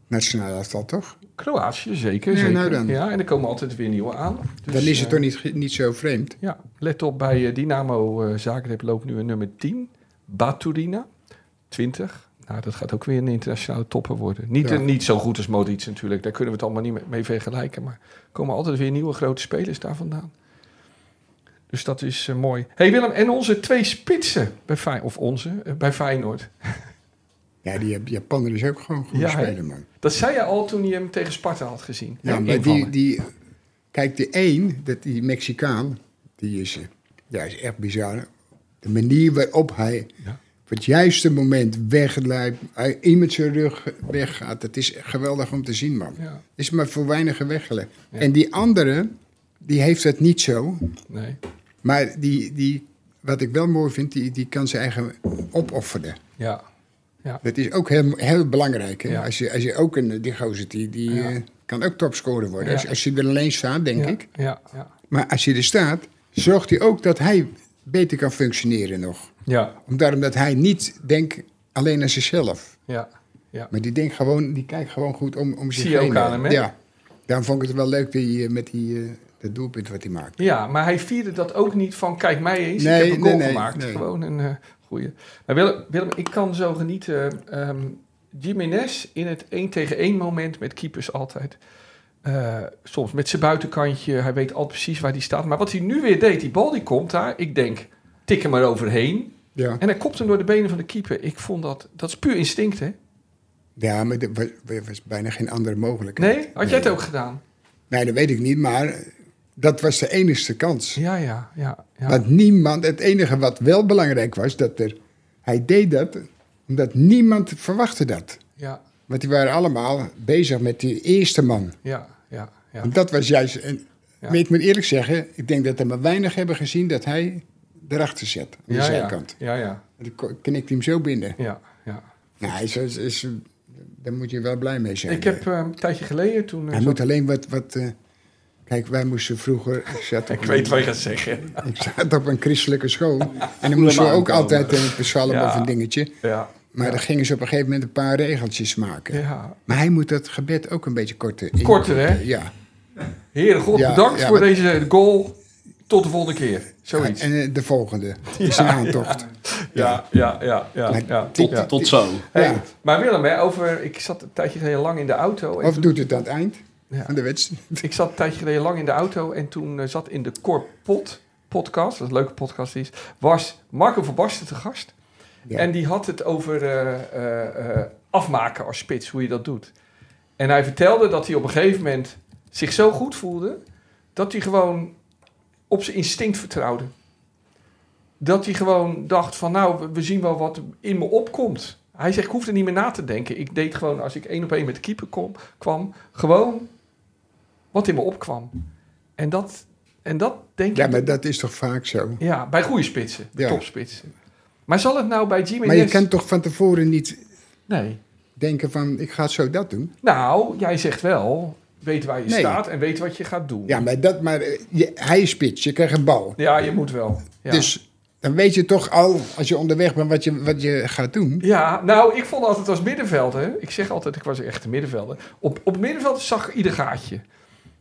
Speaker 2: Nationaal elftal, toch?
Speaker 3: Dus, Kroatië, zeker.
Speaker 2: Ja,
Speaker 3: zeker.
Speaker 2: nou dan.
Speaker 3: Ja, en er komen altijd weer nieuwe aan. Dus,
Speaker 2: Dan is het
Speaker 3: eh,
Speaker 2: toch niet, ge- niet zo vreemd?
Speaker 3: Ja, let op bij eh, Dynamo eh Zagreb loopt nu een nummer 10. Baturina, 20. Nou, dat gaat ook weer een internationale topper worden. Niet,
Speaker 2: Ja.
Speaker 3: eh, niet zo goed als Modric natuurlijk. Daar kunnen we het allemaal niet mee- mee vergelijken. Maar er komen altijd weer nieuwe grote spelers daar vandaan. Dus dat is eh, mooi. hey Willem, en onze twee spitsen bij Feyenoord. Of onze, eh, bij Feyenoord.
Speaker 2: Ja, die Japaner is ook gewoon een goede
Speaker 3: Ja, hè?
Speaker 2: speler, man.
Speaker 3: Dat zei je al toen je hem tegen Sparta had gezien.
Speaker 2: Ja,
Speaker 3: Hè,
Speaker 2: maar die,
Speaker 3: invallen.
Speaker 2: die... Kijk, die één, dat die Mexicaan, die is, eh, ja, is echt bizar. De manier waarop hij
Speaker 3: Ja.
Speaker 2: op het juiste moment weglijpt, hij in met zijn rug weggaat. Dat is geweldig om te zien, man.
Speaker 3: Ja,
Speaker 2: Is maar voor weinigen weggelegd.
Speaker 3: Ja.
Speaker 2: En die andere, die heeft dat niet zo.
Speaker 3: nee.
Speaker 2: Maar die, die, wat ik wel mooi vind, die, die kan zijn eigen opofferen.
Speaker 3: Ja,
Speaker 2: Dat is ook heel, heel belangrijk. Hè?
Speaker 3: Ja.
Speaker 2: Als, je, als je ook een eh, die gozer, die, die
Speaker 3: Ja.
Speaker 2: eh, kan ook topscorer worden.
Speaker 3: Ja.
Speaker 2: Als, als je er alleen staat, denk
Speaker 3: ja,
Speaker 2: ik.
Speaker 3: Ja, ja,
Speaker 2: Maar als je er staat, zorgt hij ook dat hij beter kan functioneren nog.
Speaker 3: ja,
Speaker 2: Om- Daarom dat hij niet denkt alleen aan zichzelf.
Speaker 3: ja. ja.
Speaker 2: Maar die, denkt gewoon, die kijkt gewoon goed om, om zich
Speaker 3: Zie je
Speaker 2: heen.
Speaker 3: ook aan hem, hè?
Speaker 2: Ja. Daarom vond ik het wel leuk die, eh, met die, eh, dat doelpunt wat hij maakt.
Speaker 3: Ja, maar hij vierde dat ook niet van kijk mij eens,
Speaker 2: Nee,
Speaker 3: ik heb een
Speaker 2: nee,
Speaker 3: goal
Speaker 2: nee,
Speaker 3: gemaakt.
Speaker 2: nee.
Speaker 3: Gewoon een eh goeie. Maar Willem, Willem, ik kan zo genieten. ehm Jiménez in het 1 tegen 1 moment met keepers altijd. Eh, soms met zijn buitenkantje, hij weet al precies waar hij staat. Maar wat hij nu weer deed, die bal die komt daar. Ik denk, tik hem er overheen.
Speaker 2: Ja,
Speaker 3: En hij kopt hem door de benen van de keeper. Ik vond dat, dat is puur instinct hè?
Speaker 2: ja maar er was, er was bijna geen andere mogelijkheid.
Speaker 3: Nee? Had jij het ook gedaan?
Speaker 2: Nee, dat weet ik niet, maar dat was de enigste kans.
Speaker 3: Ja, ja, ja. ja.
Speaker 2: Want niemand, het enige wat wel belangrijk was, dat er, hij deed dat omdat niemand verwachtte dat.
Speaker 3: ja,
Speaker 2: Want die waren allemaal bezig met die eerste man.
Speaker 3: ja, ja, ja.
Speaker 2: Want dat was juist, en,
Speaker 3: Ja.
Speaker 2: maar ik moet eerlijk zeggen, ik denk dat er maar weinig hebben gezien dat hij erachter zet, aan de
Speaker 3: Ja, ja,
Speaker 2: zijkant.
Speaker 3: ja, ja,
Speaker 2: En Dan ko- knikte hij hem zo binnen.
Speaker 3: ja, ja.
Speaker 2: Nou, hij is, is, is- daar moet je wel blij mee zijn.
Speaker 3: Ik heb eh, een tijdje geleden toen... eh,
Speaker 2: hij
Speaker 3: zo-
Speaker 2: moet alleen wat... wat eh, kijk, wij moesten vroeger... Ik zat op
Speaker 3: ik
Speaker 2: een-
Speaker 3: weet wat je gaat zeggen.
Speaker 2: Ik zat op een christelijke school. En dan moesten we ook
Speaker 6: aankomen.
Speaker 2: altijd een psalm
Speaker 3: Ja.
Speaker 2: of een dingetje.
Speaker 3: Ja,
Speaker 2: Maar dan gingen ze op een gegeven moment een paar regeltjes maken.
Speaker 3: ja.
Speaker 2: Maar hij moet dat gebed ook een beetje korter.
Speaker 3: Korter, hè?
Speaker 2: Ja.
Speaker 3: Heere God,
Speaker 2: Ja,
Speaker 3: bedankt
Speaker 2: ja,
Speaker 3: voor
Speaker 2: maar-
Speaker 3: deze goal. Tot de volgende keer.
Speaker 2: En
Speaker 3: Zoiets. Ja,
Speaker 2: eh, de volgende is een aantocht.
Speaker 3: ja, ja, ja. ja,
Speaker 2: Maar
Speaker 6: Tot,
Speaker 3: ja.
Speaker 6: tot zo.
Speaker 3: Hey,
Speaker 2: Ja.
Speaker 3: Maar Willem, hè, over, ik zat een tijdje geleden lang in de auto. En
Speaker 2: Of
Speaker 3: toen-
Speaker 2: doet het aan het eind
Speaker 3: Ja.
Speaker 2: van de wedstrijd?
Speaker 3: Ik zat een tijdje geleden lang in de auto en toen eh, zat in de Corpot podcast, dat is een leuke podcast die is, was Marco van Basten te gast.
Speaker 2: Ja.
Speaker 3: En die had het over eh, eh, eh, afmaken als spits, hoe je dat doet. En hij vertelde dat hij op een gegeven moment zich zo goed voelde, dat hij gewoon op zijn instinct vertrouwde. Dat hij gewoon dacht van nou, we- we zien wel wat in me opkomt. Hij zegt, ik hoefde niet meer na te denken. Ik deed gewoon, als ik één op één met de keeper kom, kwam, gewoon wat in me opkwam. En dat, en dat denk
Speaker 2: Ja,
Speaker 3: ik...
Speaker 2: maar dat is toch vaak zo?
Speaker 3: Ja, bij goede spitsen,
Speaker 2: Ja.
Speaker 3: topspitsen. Maar zal het nou bij Jiménez...
Speaker 2: Maar je kan toch van tevoren niet
Speaker 3: Nee.
Speaker 2: denken van, ik ga zo dat doen?
Speaker 3: Nou, jij zegt wel, weet waar je
Speaker 2: Nee.
Speaker 3: staat en weet wat je gaat doen.
Speaker 2: Ja, maar, dat, maar eh, je, hij is spits, je krijgt een bal.
Speaker 3: Ja, je moet wel. Ja.
Speaker 2: Dus dan weet je toch al, als je onderweg bent, wat je, wat je gaat doen.
Speaker 3: Ja, nou, ik vond altijd als middenvelder... Ik zeg altijd, ik was echt een middenvelder. Op, op middenveld zag ik ieder gaatje.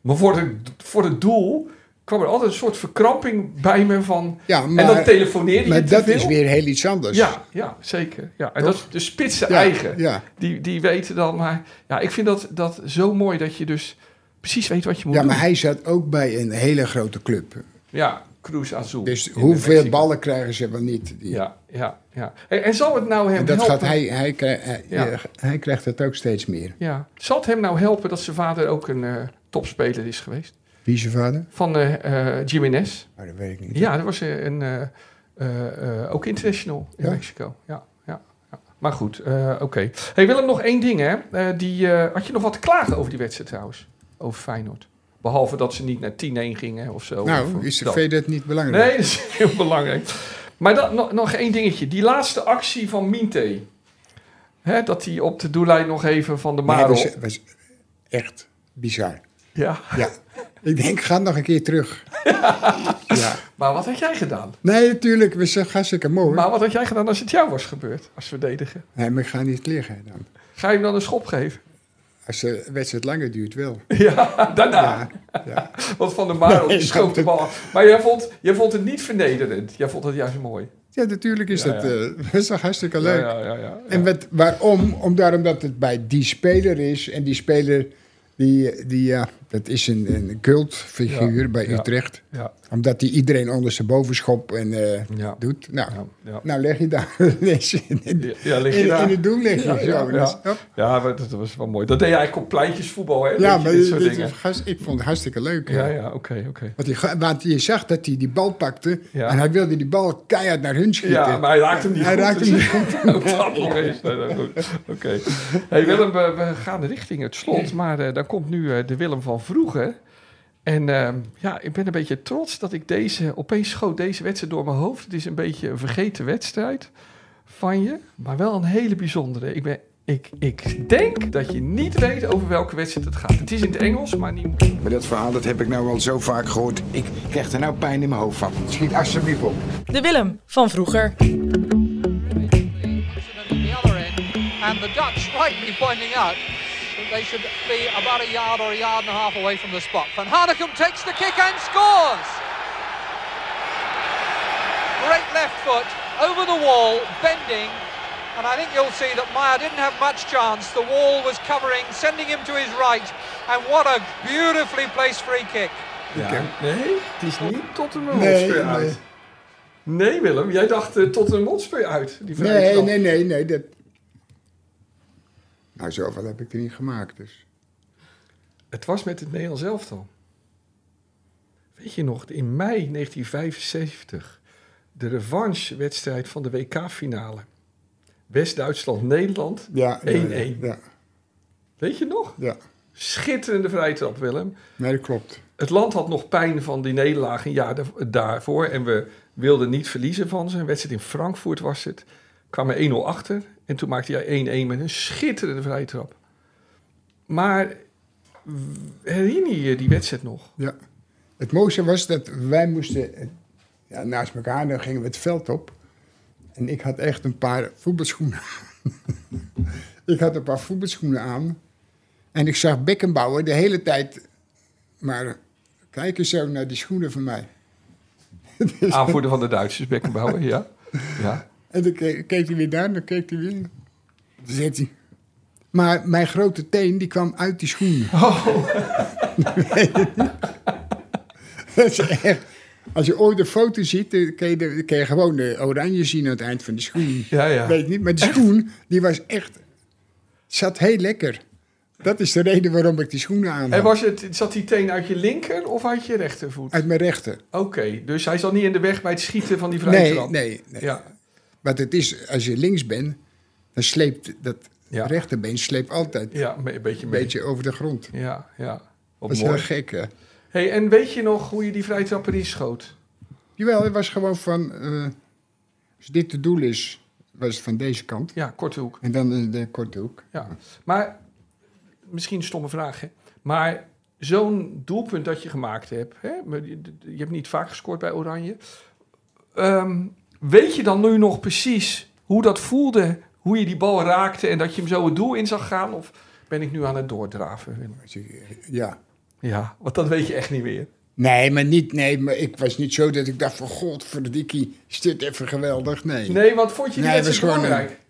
Speaker 3: Maar voor, de, voor het doel kwam er altijd een soort verkramping bij me van...
Speaker 2: Ja, maar,
Speaker 3: en dan telefoneerde je
Speaker 2: maar
Speaker 3: te
Speaker 2: dat
Speaker 3: veel.
Speaker 2: is weer heel iets anders.
Speaker 3: Ja, ja, zeker. Ja. En dat is de spitse
Speaker 2: Ja,
Speaker 3: eigen.
Speaker 2: Ja.
Speaker 3: Die, die weten dan, maar ja, ik vind dat, dat zo mooi dat je dus precies weet wat je moet
Speaker 2: ja,
Speaker 3: doen.
Speaker 2: maar hij zat ook bij een hele grote club.
Speaker 3: Ja, Cruz Azul.
Speaker 2: Dus
Speaker 3: in
Speaker 2: hoeveel
Speaker 3: Mexico.
Speaker 2: ballen krijgen ze wel niet? Die-
Speaker 3: Ja, ja, ja. En, en zal het nou hem
Speaker 2: En dat
Speaker 3: helpen?
Speaker 2: gaat hij, hij, krij- hij,
Speaker 3: Ja.
Speaker 2: eh, hij krijgt dat ook steeds meer.
Speaker 3: Ja. Zal het hem nou helpen dat zijn vader ook een eh, topspeler is geweest?
Speaker 2: Wie is je vader?
Speaker 3: Van eh eh Jiménez.
Speaker 2: Maar Oh, dat weet ik niet.
Speaker 3: Ja, dat was eh, een, eh, eh, eh, ook international in
Speaker 2: Ja?
Speaker 3: Mexico. Ja, ja, ja. Maar goed, eh, oké. Hey Willem, nog één ding hè. Eh, die, eh, had je nog wat te klagen over die wedstrijd trouwens? Over Feyenoord. Behalve dat ze niet naar 10-1 gingen of zo.
Speaker 2: Nou,
Speaker 3: Of,
Speaker 2: is de
Speaker 3: dat.
Speaker 2: V dat niet belangrijk?
Speaker 3: Nee, dat is heel belangrijk. Maar dan, nog, nog één dingetje. Die laatste actie van Minte. Hè, dat hij op de doellijn nog even van de
Speaker 2: Maar
Speaker 3: Marel...
Speaker 2: dat was, was echt bizar.
Speaker 3: Ja,
Speaker 2: Ja. Ik denk, ga nog een keer terug. Ja.
Speaker 3: maar wat had jij gedaan?
Speaker 2: Nee, natuurlijk, we zijn hartstikke mooi.
Speaker 3: Maar wat had jij gedaan als het jou was gebeurd, als verdediger?
Speaker 2: Nee, maar ik ga niet liggen dan.
Speaker 3: Ga je hem dan een schop geven?
Speaker 2: Als de wedstrijd langer duurt, wel.
Speaker 3: Ja, daarna.
Speaker 2: Ja, ja.
Speaker 3: Want Van der Marel
Speaker 2: Nee,
Speaker 3: die schoot
Speaker 2: dat-
Speaker 3: de bal af. Maar jij vond, jij vond het niet vernederend. Jij vond het juist mooi.
Speaker 2: ja natuurlijk is
Speaker 3: Ja,
Speaker 2: dat,
Speaker 3: ja.
Speaker 2: eh, dat is toch hartstikke leuk.
Speaker 3: Ja, ja, ja, ja.
Speaker 2: En wat, waarom? Om, daarom dat het bij die speler is. En die speler, die, die, ja, dat is een, een cultfiguur
Speaker 3: Ja,
Speaker 2: bij
Speaker 3: ja.
Speaker 2: Utrecht.
Speaker 3: Ja,
Speaker 2: Omdat hij iedereen ondersteboven schopt en eh,
Speaker 3: ja,
Speaker 2: doet. Nou,
Speaker 3: ja, ja.
Speaker 2: nou leg je daar ineens in, in,
Speaker 3: Ja, ja, lig je
Speaker 2: in,
Speaker 3: daar.
Speaker 2: het doel leg je
Speaker 3: Ja,
Speaker 2: zo.
Speaker 3: ja,
Speaker 2: Dat
Speaker 3: ja.
Speaker 2: is- hop.
Speaker 3: Ja, maar dat was wel mooi. Dat deed je eigenlijk op pleintjesvoetbal, hè?
Speaker 2: Ja,
Speaker 3: Weet je,
Speaker 2: maar
Speaker 3: dit
Speaker 2: dit
Speaker 3: soort
Speaker 2: dit
Speaker 3: dingen.
Speaker 2: is gast- ik vond het hartstikke leuk.
Speaker 3: Ja, ja, oké, oké.
Speaker 2: Want, hij ga- want je zag dat hij die bal pakte
Speaker 3: Ja.
Speaker 2: en hij wilde die bal keihard naar hun schieten.
Speaker 3: Ja, maar hij raakt hem niet
Speaker 2: Hij
Speaker 3: goed.
Speaker 2: raakte hem niet goed.
Speaker 3: Ook dat nog eens. Nee, nou goed. Oké. Hey Willem, we, we gaan richting het slot. Maar eh, dan komt nu eh, de Willem van vroeger. En ehm, ja, ik ben een beetje trots dat ik deze... Opeens schoot deze wedstrijd door mijn hoofd. Het is een beetje een vergeten wedstrijd van je. Maar wel een hele bijzondere. Ik, ben, ik, ik denk dat je niet weet over welke wedstrijd het gaat. Het is in het Engels, maar niet...
Speaker 7: Maar dat verhaal dat heb ik nou al zo vaak gehoord. Ik krijg er nou pijn in mijn hoofd van.
Speaker 2: Schiet alsjeblieft op.
Speaker 4: De Willem van vroeger.
Speaker 8: in the other end, and the Dutch rightly pointing out that they should be about a yard or a yard and a half away from the spot. Van Hanegem takes the kick and scores! Great left foot over the wall, bending, and I think you'll see that Meyer didn't have much chance. The wall was covering, sending him to his right, and what a beautifully placed free kick.
Speaker 3: Ja, nee, het is niet Tottenham
Speaker 2: Nee,
Speaker 3: Hotspur
Speaker 2: nee.
Speaker 3: uit. Nee, Willem, jij dacht tot Tottenham Hotspur uit. Die vrije
Speaker 2: Nee,
Speaker 3: trap.
Speaker 2: nee, nee, nee. Dat... Nou, zoveel heb ik er niet gemaakt. Dus.
Speaker 3: Het was met het Nederlands elftal. Weet je nog, in mei 1975, de revanche-wedstrijd van de WK-finale. West-Duitsland-Nederland,
Speaker 2: Ja,
Speaker 3: 1-1.
Speaker 2: ja, Ja,
Speaker 3: Weet je nog?
Speaker 2: ja.
Speaker 3: Schitterende vrije trap, Willem.
Speaker 2: Nee, dat klopt.
Speaker 3: Het land had nog pijn van die nederlaag een jaar da- daarvoor. En we wilden niet verliezen van ze. Een wedstrijd in Frankfurt was het. Kwam er 1-0 achter. En toen maakte hij 1-1 met een schitterende vrije trap. Maar w- herinner je je die wedstrijd nog?
Speaker 2: Ja. Het mooiste was dat wij moesten eh, ja, naast elkaar, dan gingen we het veld op. En ik had echt een paar voetbalschoenen. ik had een paar voetbalschoenen aan. En ik zag Beckenbauer de hele tijd maar kijken zo naar die schoenen van mij.
Speaker 3: Aanvoerder van de Duitsers, Beckenbauer, ja. ja.
Speaker 2: En dan keek, keek hij weer daar, dan keek hij weer. Dan zegt hij. Maar mijn grote teen die kwam uit die schoenen.
Speaker 3: Oh.
Speaker 2: dat is echt. Als je ooit een foto ziet, dan kun je, de- kun je gewoon de oranje zien aan het eind van de schoen.
Speaker 3: Ja, ja.
Speaker 2: Weet niet, maar die schoen die was echt. zat heel lekker. Dat is de reden waarom ik die schoenen aan
Speaker 3: En
Speaker 2: had.
Speaker 3: was het, zat die teen uit je linker of uit je rechtervoet?
Speaker 2: Uit mijn rechter.
Speaker 3: Oké, dus hij zat niet in de weg bij het schieten van die vrije
Speaker 2: Nee,
Speaker 3: trap.
Speaker 2: nee, nee.
Speaker 3: Ja,
Speaker 2: Want het is, als je links bent, dan sleept dat
Speaker 3: Ja.
Speaker 2: rechterbeen sleept altijd
Speaker 3: ja, me- een beetje
Speaker 2: een
Speaker 3: mee.
Speaker 2: beetje over de grond.
Speaker 3: Ja, ja. Wat
Speaker 2: Dat is
Speaker 3: mooi.
Speaker 2: heel gek, hè?
Speaker 3: Hey, en weet je nog hoe je die vrije trap erin schoot?
Speaker 2: Jawel, het was gewoon van... eh, als dit het doel is, was het van deze kant.
Speaker 3: Ja, korte hoek.
Speaker 2: En dan eh, de korte hoek.
Speaker 3: Ja. Maar, misschien een stomme vraag, hè? Maar zo'n doelpunt dat je gemaakt hebt, hè? maar Je je hebt niet vaak gescoord bij Oranje. Ehm, weet je dan nu nog precies hoe dat voelde, hoe je die bal raakte en dat je hem zo het doel in zag gaan? Of ben ik nu aan het doordraven? Willem?
Speaker 2: Als je- Ja.
Speaker 3: Ja, want dat weet je echt niet meer.
Speaker 2: Nee, maar niet... Nee, maar ik was niet zo dat ik dacht van... God, voor Dikkie, is dit even geweldig? Nee.
Speaker 3: Nee, want vond je die
Speaker 2: Nee, dat is
Speaker 3: wedstrijd
Speaker 2: gewoon
Speaker 3: belangrijk?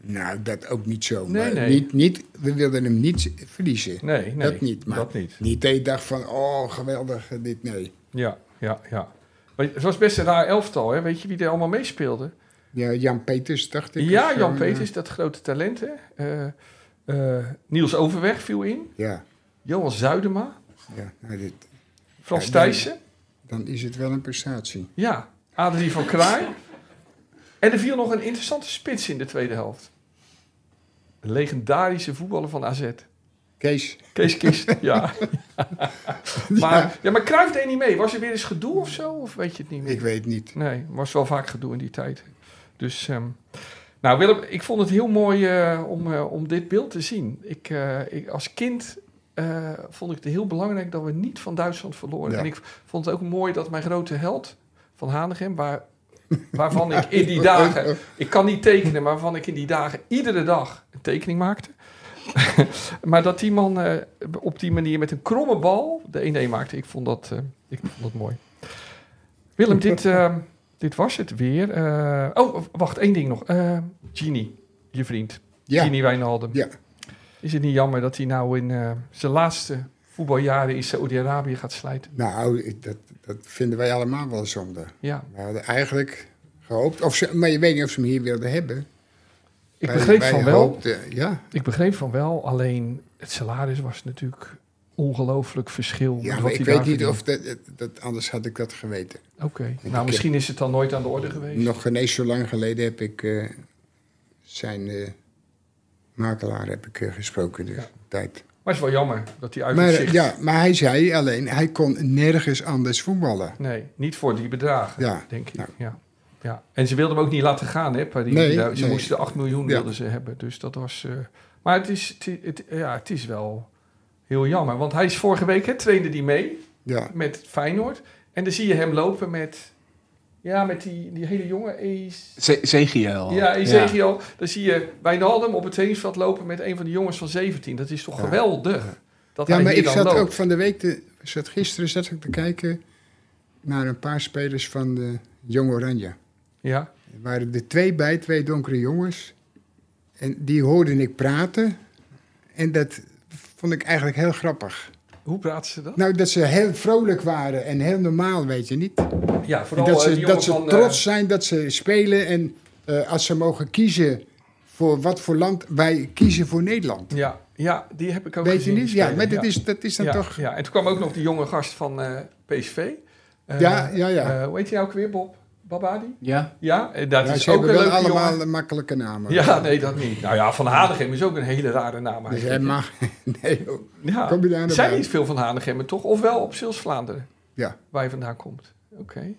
Speaker 2: Nou, dat ook niet zo.
Speaker 3: Nee,
Speaker 2: maar
Speaker 3: nee.
Speaker 2: Niet, niet, we wilden hem niet verliezen.
Speaker 3: Nee, nee.
Speaker 2: dat niet. Maar
Speaker 3: dat niet.
Speaker 2: Niet dat je dacht van... Oh, geweldig, eh, dit. Nee.
Speaker 3: Ja, ja, ja. Maar het was best een raar elftal, hè? Weet je wie er allemaal meespeelde?
Speaker 2: Ja, Jan Peters, dacht ik. of
Speaker 3: Ja,
Speaker 2: zo,
Speaker 3: Jan
Speaker 2: eh,
Speaker 3: Peters, dat grote talent, hè? Eh, eh, Niels Overweg viel in.
Speaker 2: eh, Ja.
Speaker 3: Johan Zuidema.
Speaker 2: ja nou, dit,
Speaker 3: Frans
Speaker 2: Ja,
Speaker 3: Thijssen.
Speaker 2: dan is het wel een prestatie.
Speaker 3: Ja. Adrie van Kraai. En er viel nog een interessante spits in de tweede helft. Een legendarische voetballer van AZ.
Speaker 2: Kees,
Speaker 3: Kees Kist, ja. maar, ja, maar Cruijff deed niet mee. Was er weer eens gedoe of zo? Of weet je het niet meer?
Speaker 2: ik weet niet.
Speaker 3: Nee, was wel vaak gedoe in die tijd. Dus, ehm, nou Willem, ik vond het heel mooi eh, om, eh, om dit beeld te zien. Ik, eh, ik, als kind eh, vond ik het heel belangrijk dat we niet van Duitsland verloren.
Speaker 2: Ja.
Speaker 3: En ik vond het ook mooi dat mijn grote held van Hanegem, waar, waarvan ik in die dagen, ik kan niet tekenen, maar waarvan ik in die dagen iedere dag een tekening maakte. maar dat die man eh, op die manier met een kromme bal de 1-1 maakte, ik vond dat, eh, ik vond dat mooi. Willem, dit, eh, dit was het weer. Eh, oh, wacht, één ding nog. Eh Genie, je vriend.
Speaker 2: Ja,
Speaker 3: Genie Wijnaldum.
Speaker 2: ja.
Speaker 3: Is het niet jammer dat hij nou in eh, zijn laatste voetbaljaren in Saoedi-Arabië gaat slijten?
Speaker 2: nou, ik- dat, dat vinden wij allemaal wel zonde.
Speaker 3: Ja.
Speaker 2: We hadden eigenlijk gehoopt, of ze, maar je weet niet of ze hem hier wilden hebben.
Speaker 3: Ik
Speaker 2: Wij-
Speaker 3: begreep
Speaker 2: wij
Speaker 3: van wel.
Speaker 2: hoopten- ja,
Speaker 3: Ik begreep van wel, alleen het salaris was natuurlijk ongelooflijk verschil. met
Speaker 2: ja
Speaker 3: wat
Speaker 2: maar
Speaker 3: hij
Speaker 2: ik
Speaker 3: daar
Speaker 2: weet niet
Speaker 3: verdiende.
Speaker 2: of dat, dat- dat, anders had ik dat geweten.
Speaker 3: Oké, nou misschien is het dan nooit aan de orde geweest.
Speaker 2: Nog geen eens zo lang geleden heb ik eh, zijn eh, makelaar heb ik, eh, gesproken. Dus tijd.
Speaker 3: Maar het is wel jammer dat hij uit het
Speaker 2: Maar,
Speaker 3: zicht...
Speaker 2: ja, maar hij zei alleen, hij kon nergens anders voetballen.
Speaker 3: Nee, niet voor die bedragen,
Speaker 2: Ja,
Speaker 3: denk ik.
Speaker 2: nou.
Speaker 3: Ja. Ja. En ze wilden hem ook niet laten gaan, hè? Parisi.
Speaker 2: Nee,
Speaker 3: Daar- ze
Speaker 2: nee.
Speaker 3: moesten 8 miljoen
Speaker 2: Ja.
Speaker 3: wilden ze hebben. Dus dat was. eh, maar het is, het, het- ja, het is wel heel jammer. Want hij is vorige week, hè, trainde die mee
Speaker 2: Ja,
Speaker 3: met Feyenoord. En dan zie je hem lopen met. Ja, met die, die hele jonge Ees.
Speaker 2: Oh,
Speaker 6: Zegiel.
Speaker 3: Ja, Ezekiel. Dan zie je Wijnaldum op het trainingsveld lopen met een van de jongens van 17. Dat is toch geweldig? Dat
Speaker 2: ja
Speaker 3: hij
Speaker 2: maar
Speaker 3: hier
Speaker 2: ik
Speaker 3: dan
Speaker 2: zat
Speaker 3: loopt.
Speaker 2: ook van de week, te, zat gisteren zat ik te kijken naar een paar spelers van de Jong Oranje.
Speaker 3: Ja,
Speaker 2: Er waren er twee bij, twee donkere jongens. En die hoorde ik praten. En dat vond ik eigenlijk heel grappig.
Speaker 3: hoe praten ze dat?
Speaker 2: Nou, dat ze heel vrolijk waren en heel normaal, weet je niet.
Speaker 3: Ja,
Speaker 2: En
Speaker 3: vooral
Speaker 2: dat
Speaker 3: eh,
Speaker 2: ze,
Speaker 3: die jongen
Speaker 2: dat ze
Speaker 3: van, eh,
Speaker 2: trots zijn dat ze spelen. En eh, als ze mogen kiezen voor wat voor land, wij kiezen voor Nederland.
Speaker 3: Ja, ja, die heb ik ook
Speaker 2: Weet je
Speaker 3: gezien.
Speaker 2: niet?
Speaker 3: die
Speaker 2: Ja,
Speaker 3: spelen,
Speaker 2: maar dat is, dat is dan
Speaker 3: ja,
Speaker 2: toch...
Speaker 3: Ja, en toen kwam ook nog die jonge gast van eh, PSV. Eh,
Speaker 2: Ja, ja, ja.
Speaker 3: eh, hoe heet hij ook weer, Bob? Babadi?
Speaker 6: Ja,
Speaker 3: Ja, eh, dat
Speaker 2: Ja,
Speaker 3: is
Speaker 2: ze
Speaker 3: ook
Speaker 2: hebben
Speaker 3: een
Speaker 2: wel
Speaker 3: leuke
Speaker 2: allemaal
Speaker 3: jongen.
Speaker 2: makkelijke namen.
Speaker 3: Ja, nee, dat niet. Nou ja, Van Hanegem is ook een hele rare naam
Speaker 2: Dus
Speaker 3: eigenlijk.
Speaker 2: hij mag... Nee, joh.
Speaker 3: ja.
Speaker 2: kom je daar
Speaker 3: Er
Speaker 2: nou
Speaker 3: Ah, zijn
Speaker 2: bij?
Speaker 3: niet veel Van Hanegemmen, toch? Ofwel op Zeeuws-Vlaanderen,
Speaker 2: ja,
Speaker 3: waar je vandaan komt. Oké.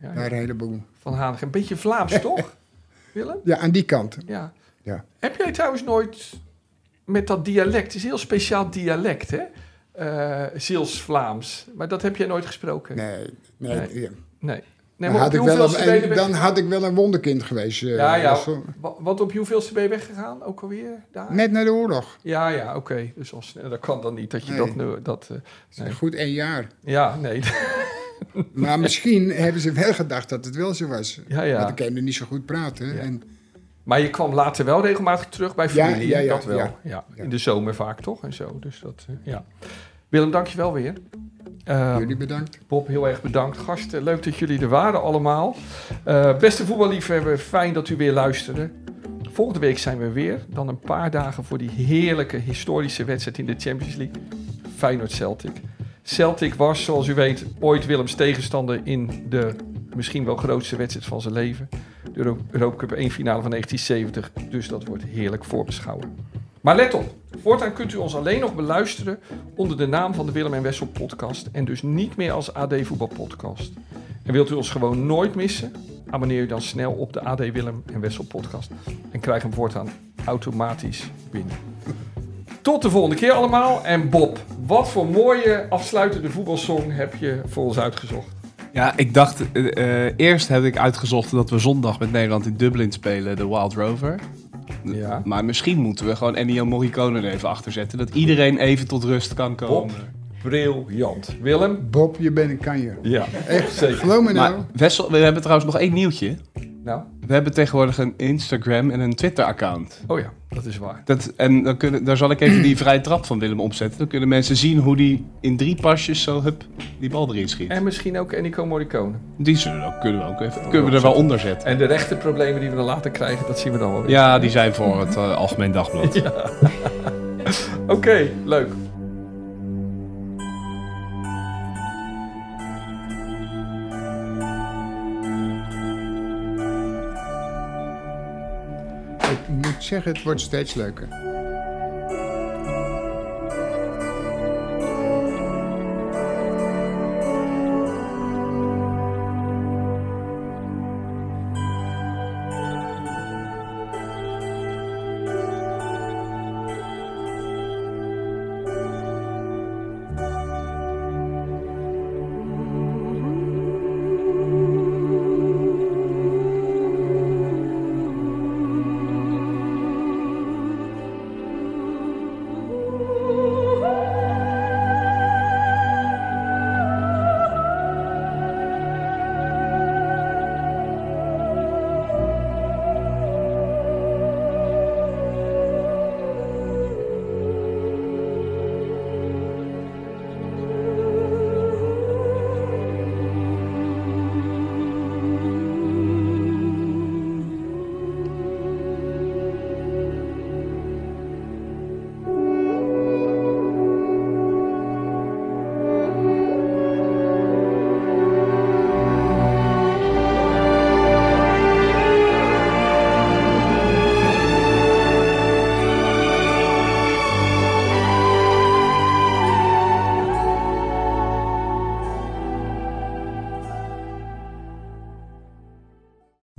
Speaker 3: Ja,
Speaker 2: daar een heleboel.
Speaker 3: Van Hanegem. Beetje Vlaams, toch? Willem?
Speaker 2: Ja, aan die kant.
Speaker 3: Ja.
Speaker 2: Ja.
Speaker 3: Heb jij trouwens nooit met dat dialect, het is een heel speciaal dialect, hè? Eh Zeels-Vlaams. Maar dat heb jij nooit gesproken.
Speaker 2: Nee, nee.
Speaker 3: Nee.
Speaker 2: ja.
Speaker 3: Nee. nee
Speaker 2: Dan
Speaker 3: maar op
Speaker 2: had
Speaker 3: je
Speaker 2: ik wel
Speaker 3: hoeveelste
Speaker 2: een-
Speaker 3: ben je weg-
Speaker 2: dan had ik wel een wonderkind geweest. eh,
Speaker 3: Ja, ja.
Speaker 2: was zo-
Speaker 3: Wa- Want op je hoeveelste ben je weggegaan? Ook alweer daar?
Speaker 2: Net na de oorlog.
Speaker 3: Ja, ja, oké. Dus al snel, dat kan dan niet. Dat je
Speaker 2: Nee.
Speaker 3: dat nu... Dat, eh, Nee.
Speaker 2: Goed één jaar.
Speaker 3: ja, nee.
Speaker 2: Maar misschien hebben ze wel gedacht dat het wel zo was.
Speaker 3: ja,
Speaker 2: Want
Speaker 3: ja.
Speaker 2: ik kende niet zo goed praten.
Speaker 3: Ja.
Speaker 2: En,
Speaker 3: Maar je kwam later wel regelmatig terug bij
Speaker 2: Ja,
Speaker 3: familie.
Speaker 2: ja, ja,
Speaker 3: dat wel. Ja,
Speaker 2: ja.
Speaker 3: In de zomer vaak toch en zo. Dus dat, eh, ja. Willem, dank je wel weer. Ehm,
Speaker 2: jullie bedankt.
Speaker 3: Bob, heel erg bedankt. Gasten, leuk dat jullie er waren allemaal. Eh, beste voetballiefhebber, fijn dat u weer luisterde. Volgende week zijn we weer. Dan een paar dagen voor die heerlijke historische wedstrijd in de Champions League. Feyenoord-Celtic. Celtic was, zoals u weet, ooit Willems tegenstander in de misschien wel grootste wedstrijd van zijn leven. De Euro- Europa Cup 1 finale van 1970. Dus dat wordt heerlijk voorbeschouwen. Maar let op, voortaan kunt u ons alleen nog beluisteren onder de naam van de Willem en Wessel podcast en dus niet meer als AD Voetbal podcast. En wilt u ons gewoon nooit missen? Abonneer u dan snel op de AD Willem en Wessel podcast en krijg hem voortaan automatisch binnen. Tot de volgende keer allemaal en Bob, wat voor mooie afsluitende voetbalsong heb je voor ons uitgezocht?
Speaker 6: ja ik dacht... eh, eh, eerst heb ik uitgezocht dat we zondag met Nederland in Dublin spelen, de Wild Rover.
Speaker 3: Ja.
Speaker 6: Maar misschien moeten we gewoon Ennio Morricone er even achter zetten. Dat iedereen even tot rust kan
Speaker 3: Bob,
Speaker 6: komen.
Speaker 3: briljant. Willem?
Speaker 2: Bob, je bent een kanjer.
Speaker 3: Ja, echt zeker.
Speaker 2: Geloof me nou.
Speaker 6: Maar Wessel, we hebben trouwens nog één nieuwtje.
Speaker 3: Nou,
Speaker 6: We hebben tegenwoordig een Instagram en een Twitter-account.
Speaker 3: oh ja, dat is waar.
Speaker 6: Dat, en dan kunnen, daar zal ik even die vrije trap van Willem opzetten. Dan kunnen mensen zien hoe die in drie pasjes zo hup die bal erin schiet.
Speaker 3: En misschien ook Ennico Morricone.
Speaker 6: Die zullen we ook, kunnen we ook even
Speaker 3: Oh,
Speaker 6: kunnen we er wel onder zetten.
Speaker 3: En de rechterproblemen die we dan later krijgen, dat zien we dan wel weer.
Speaker 6: Ja, die zijn voor het eh, Algemeen Dagblad.
Speaker 3: Oké, leuk.
Speaker 2: Ik moet zeggen, het wordt steeds leuker.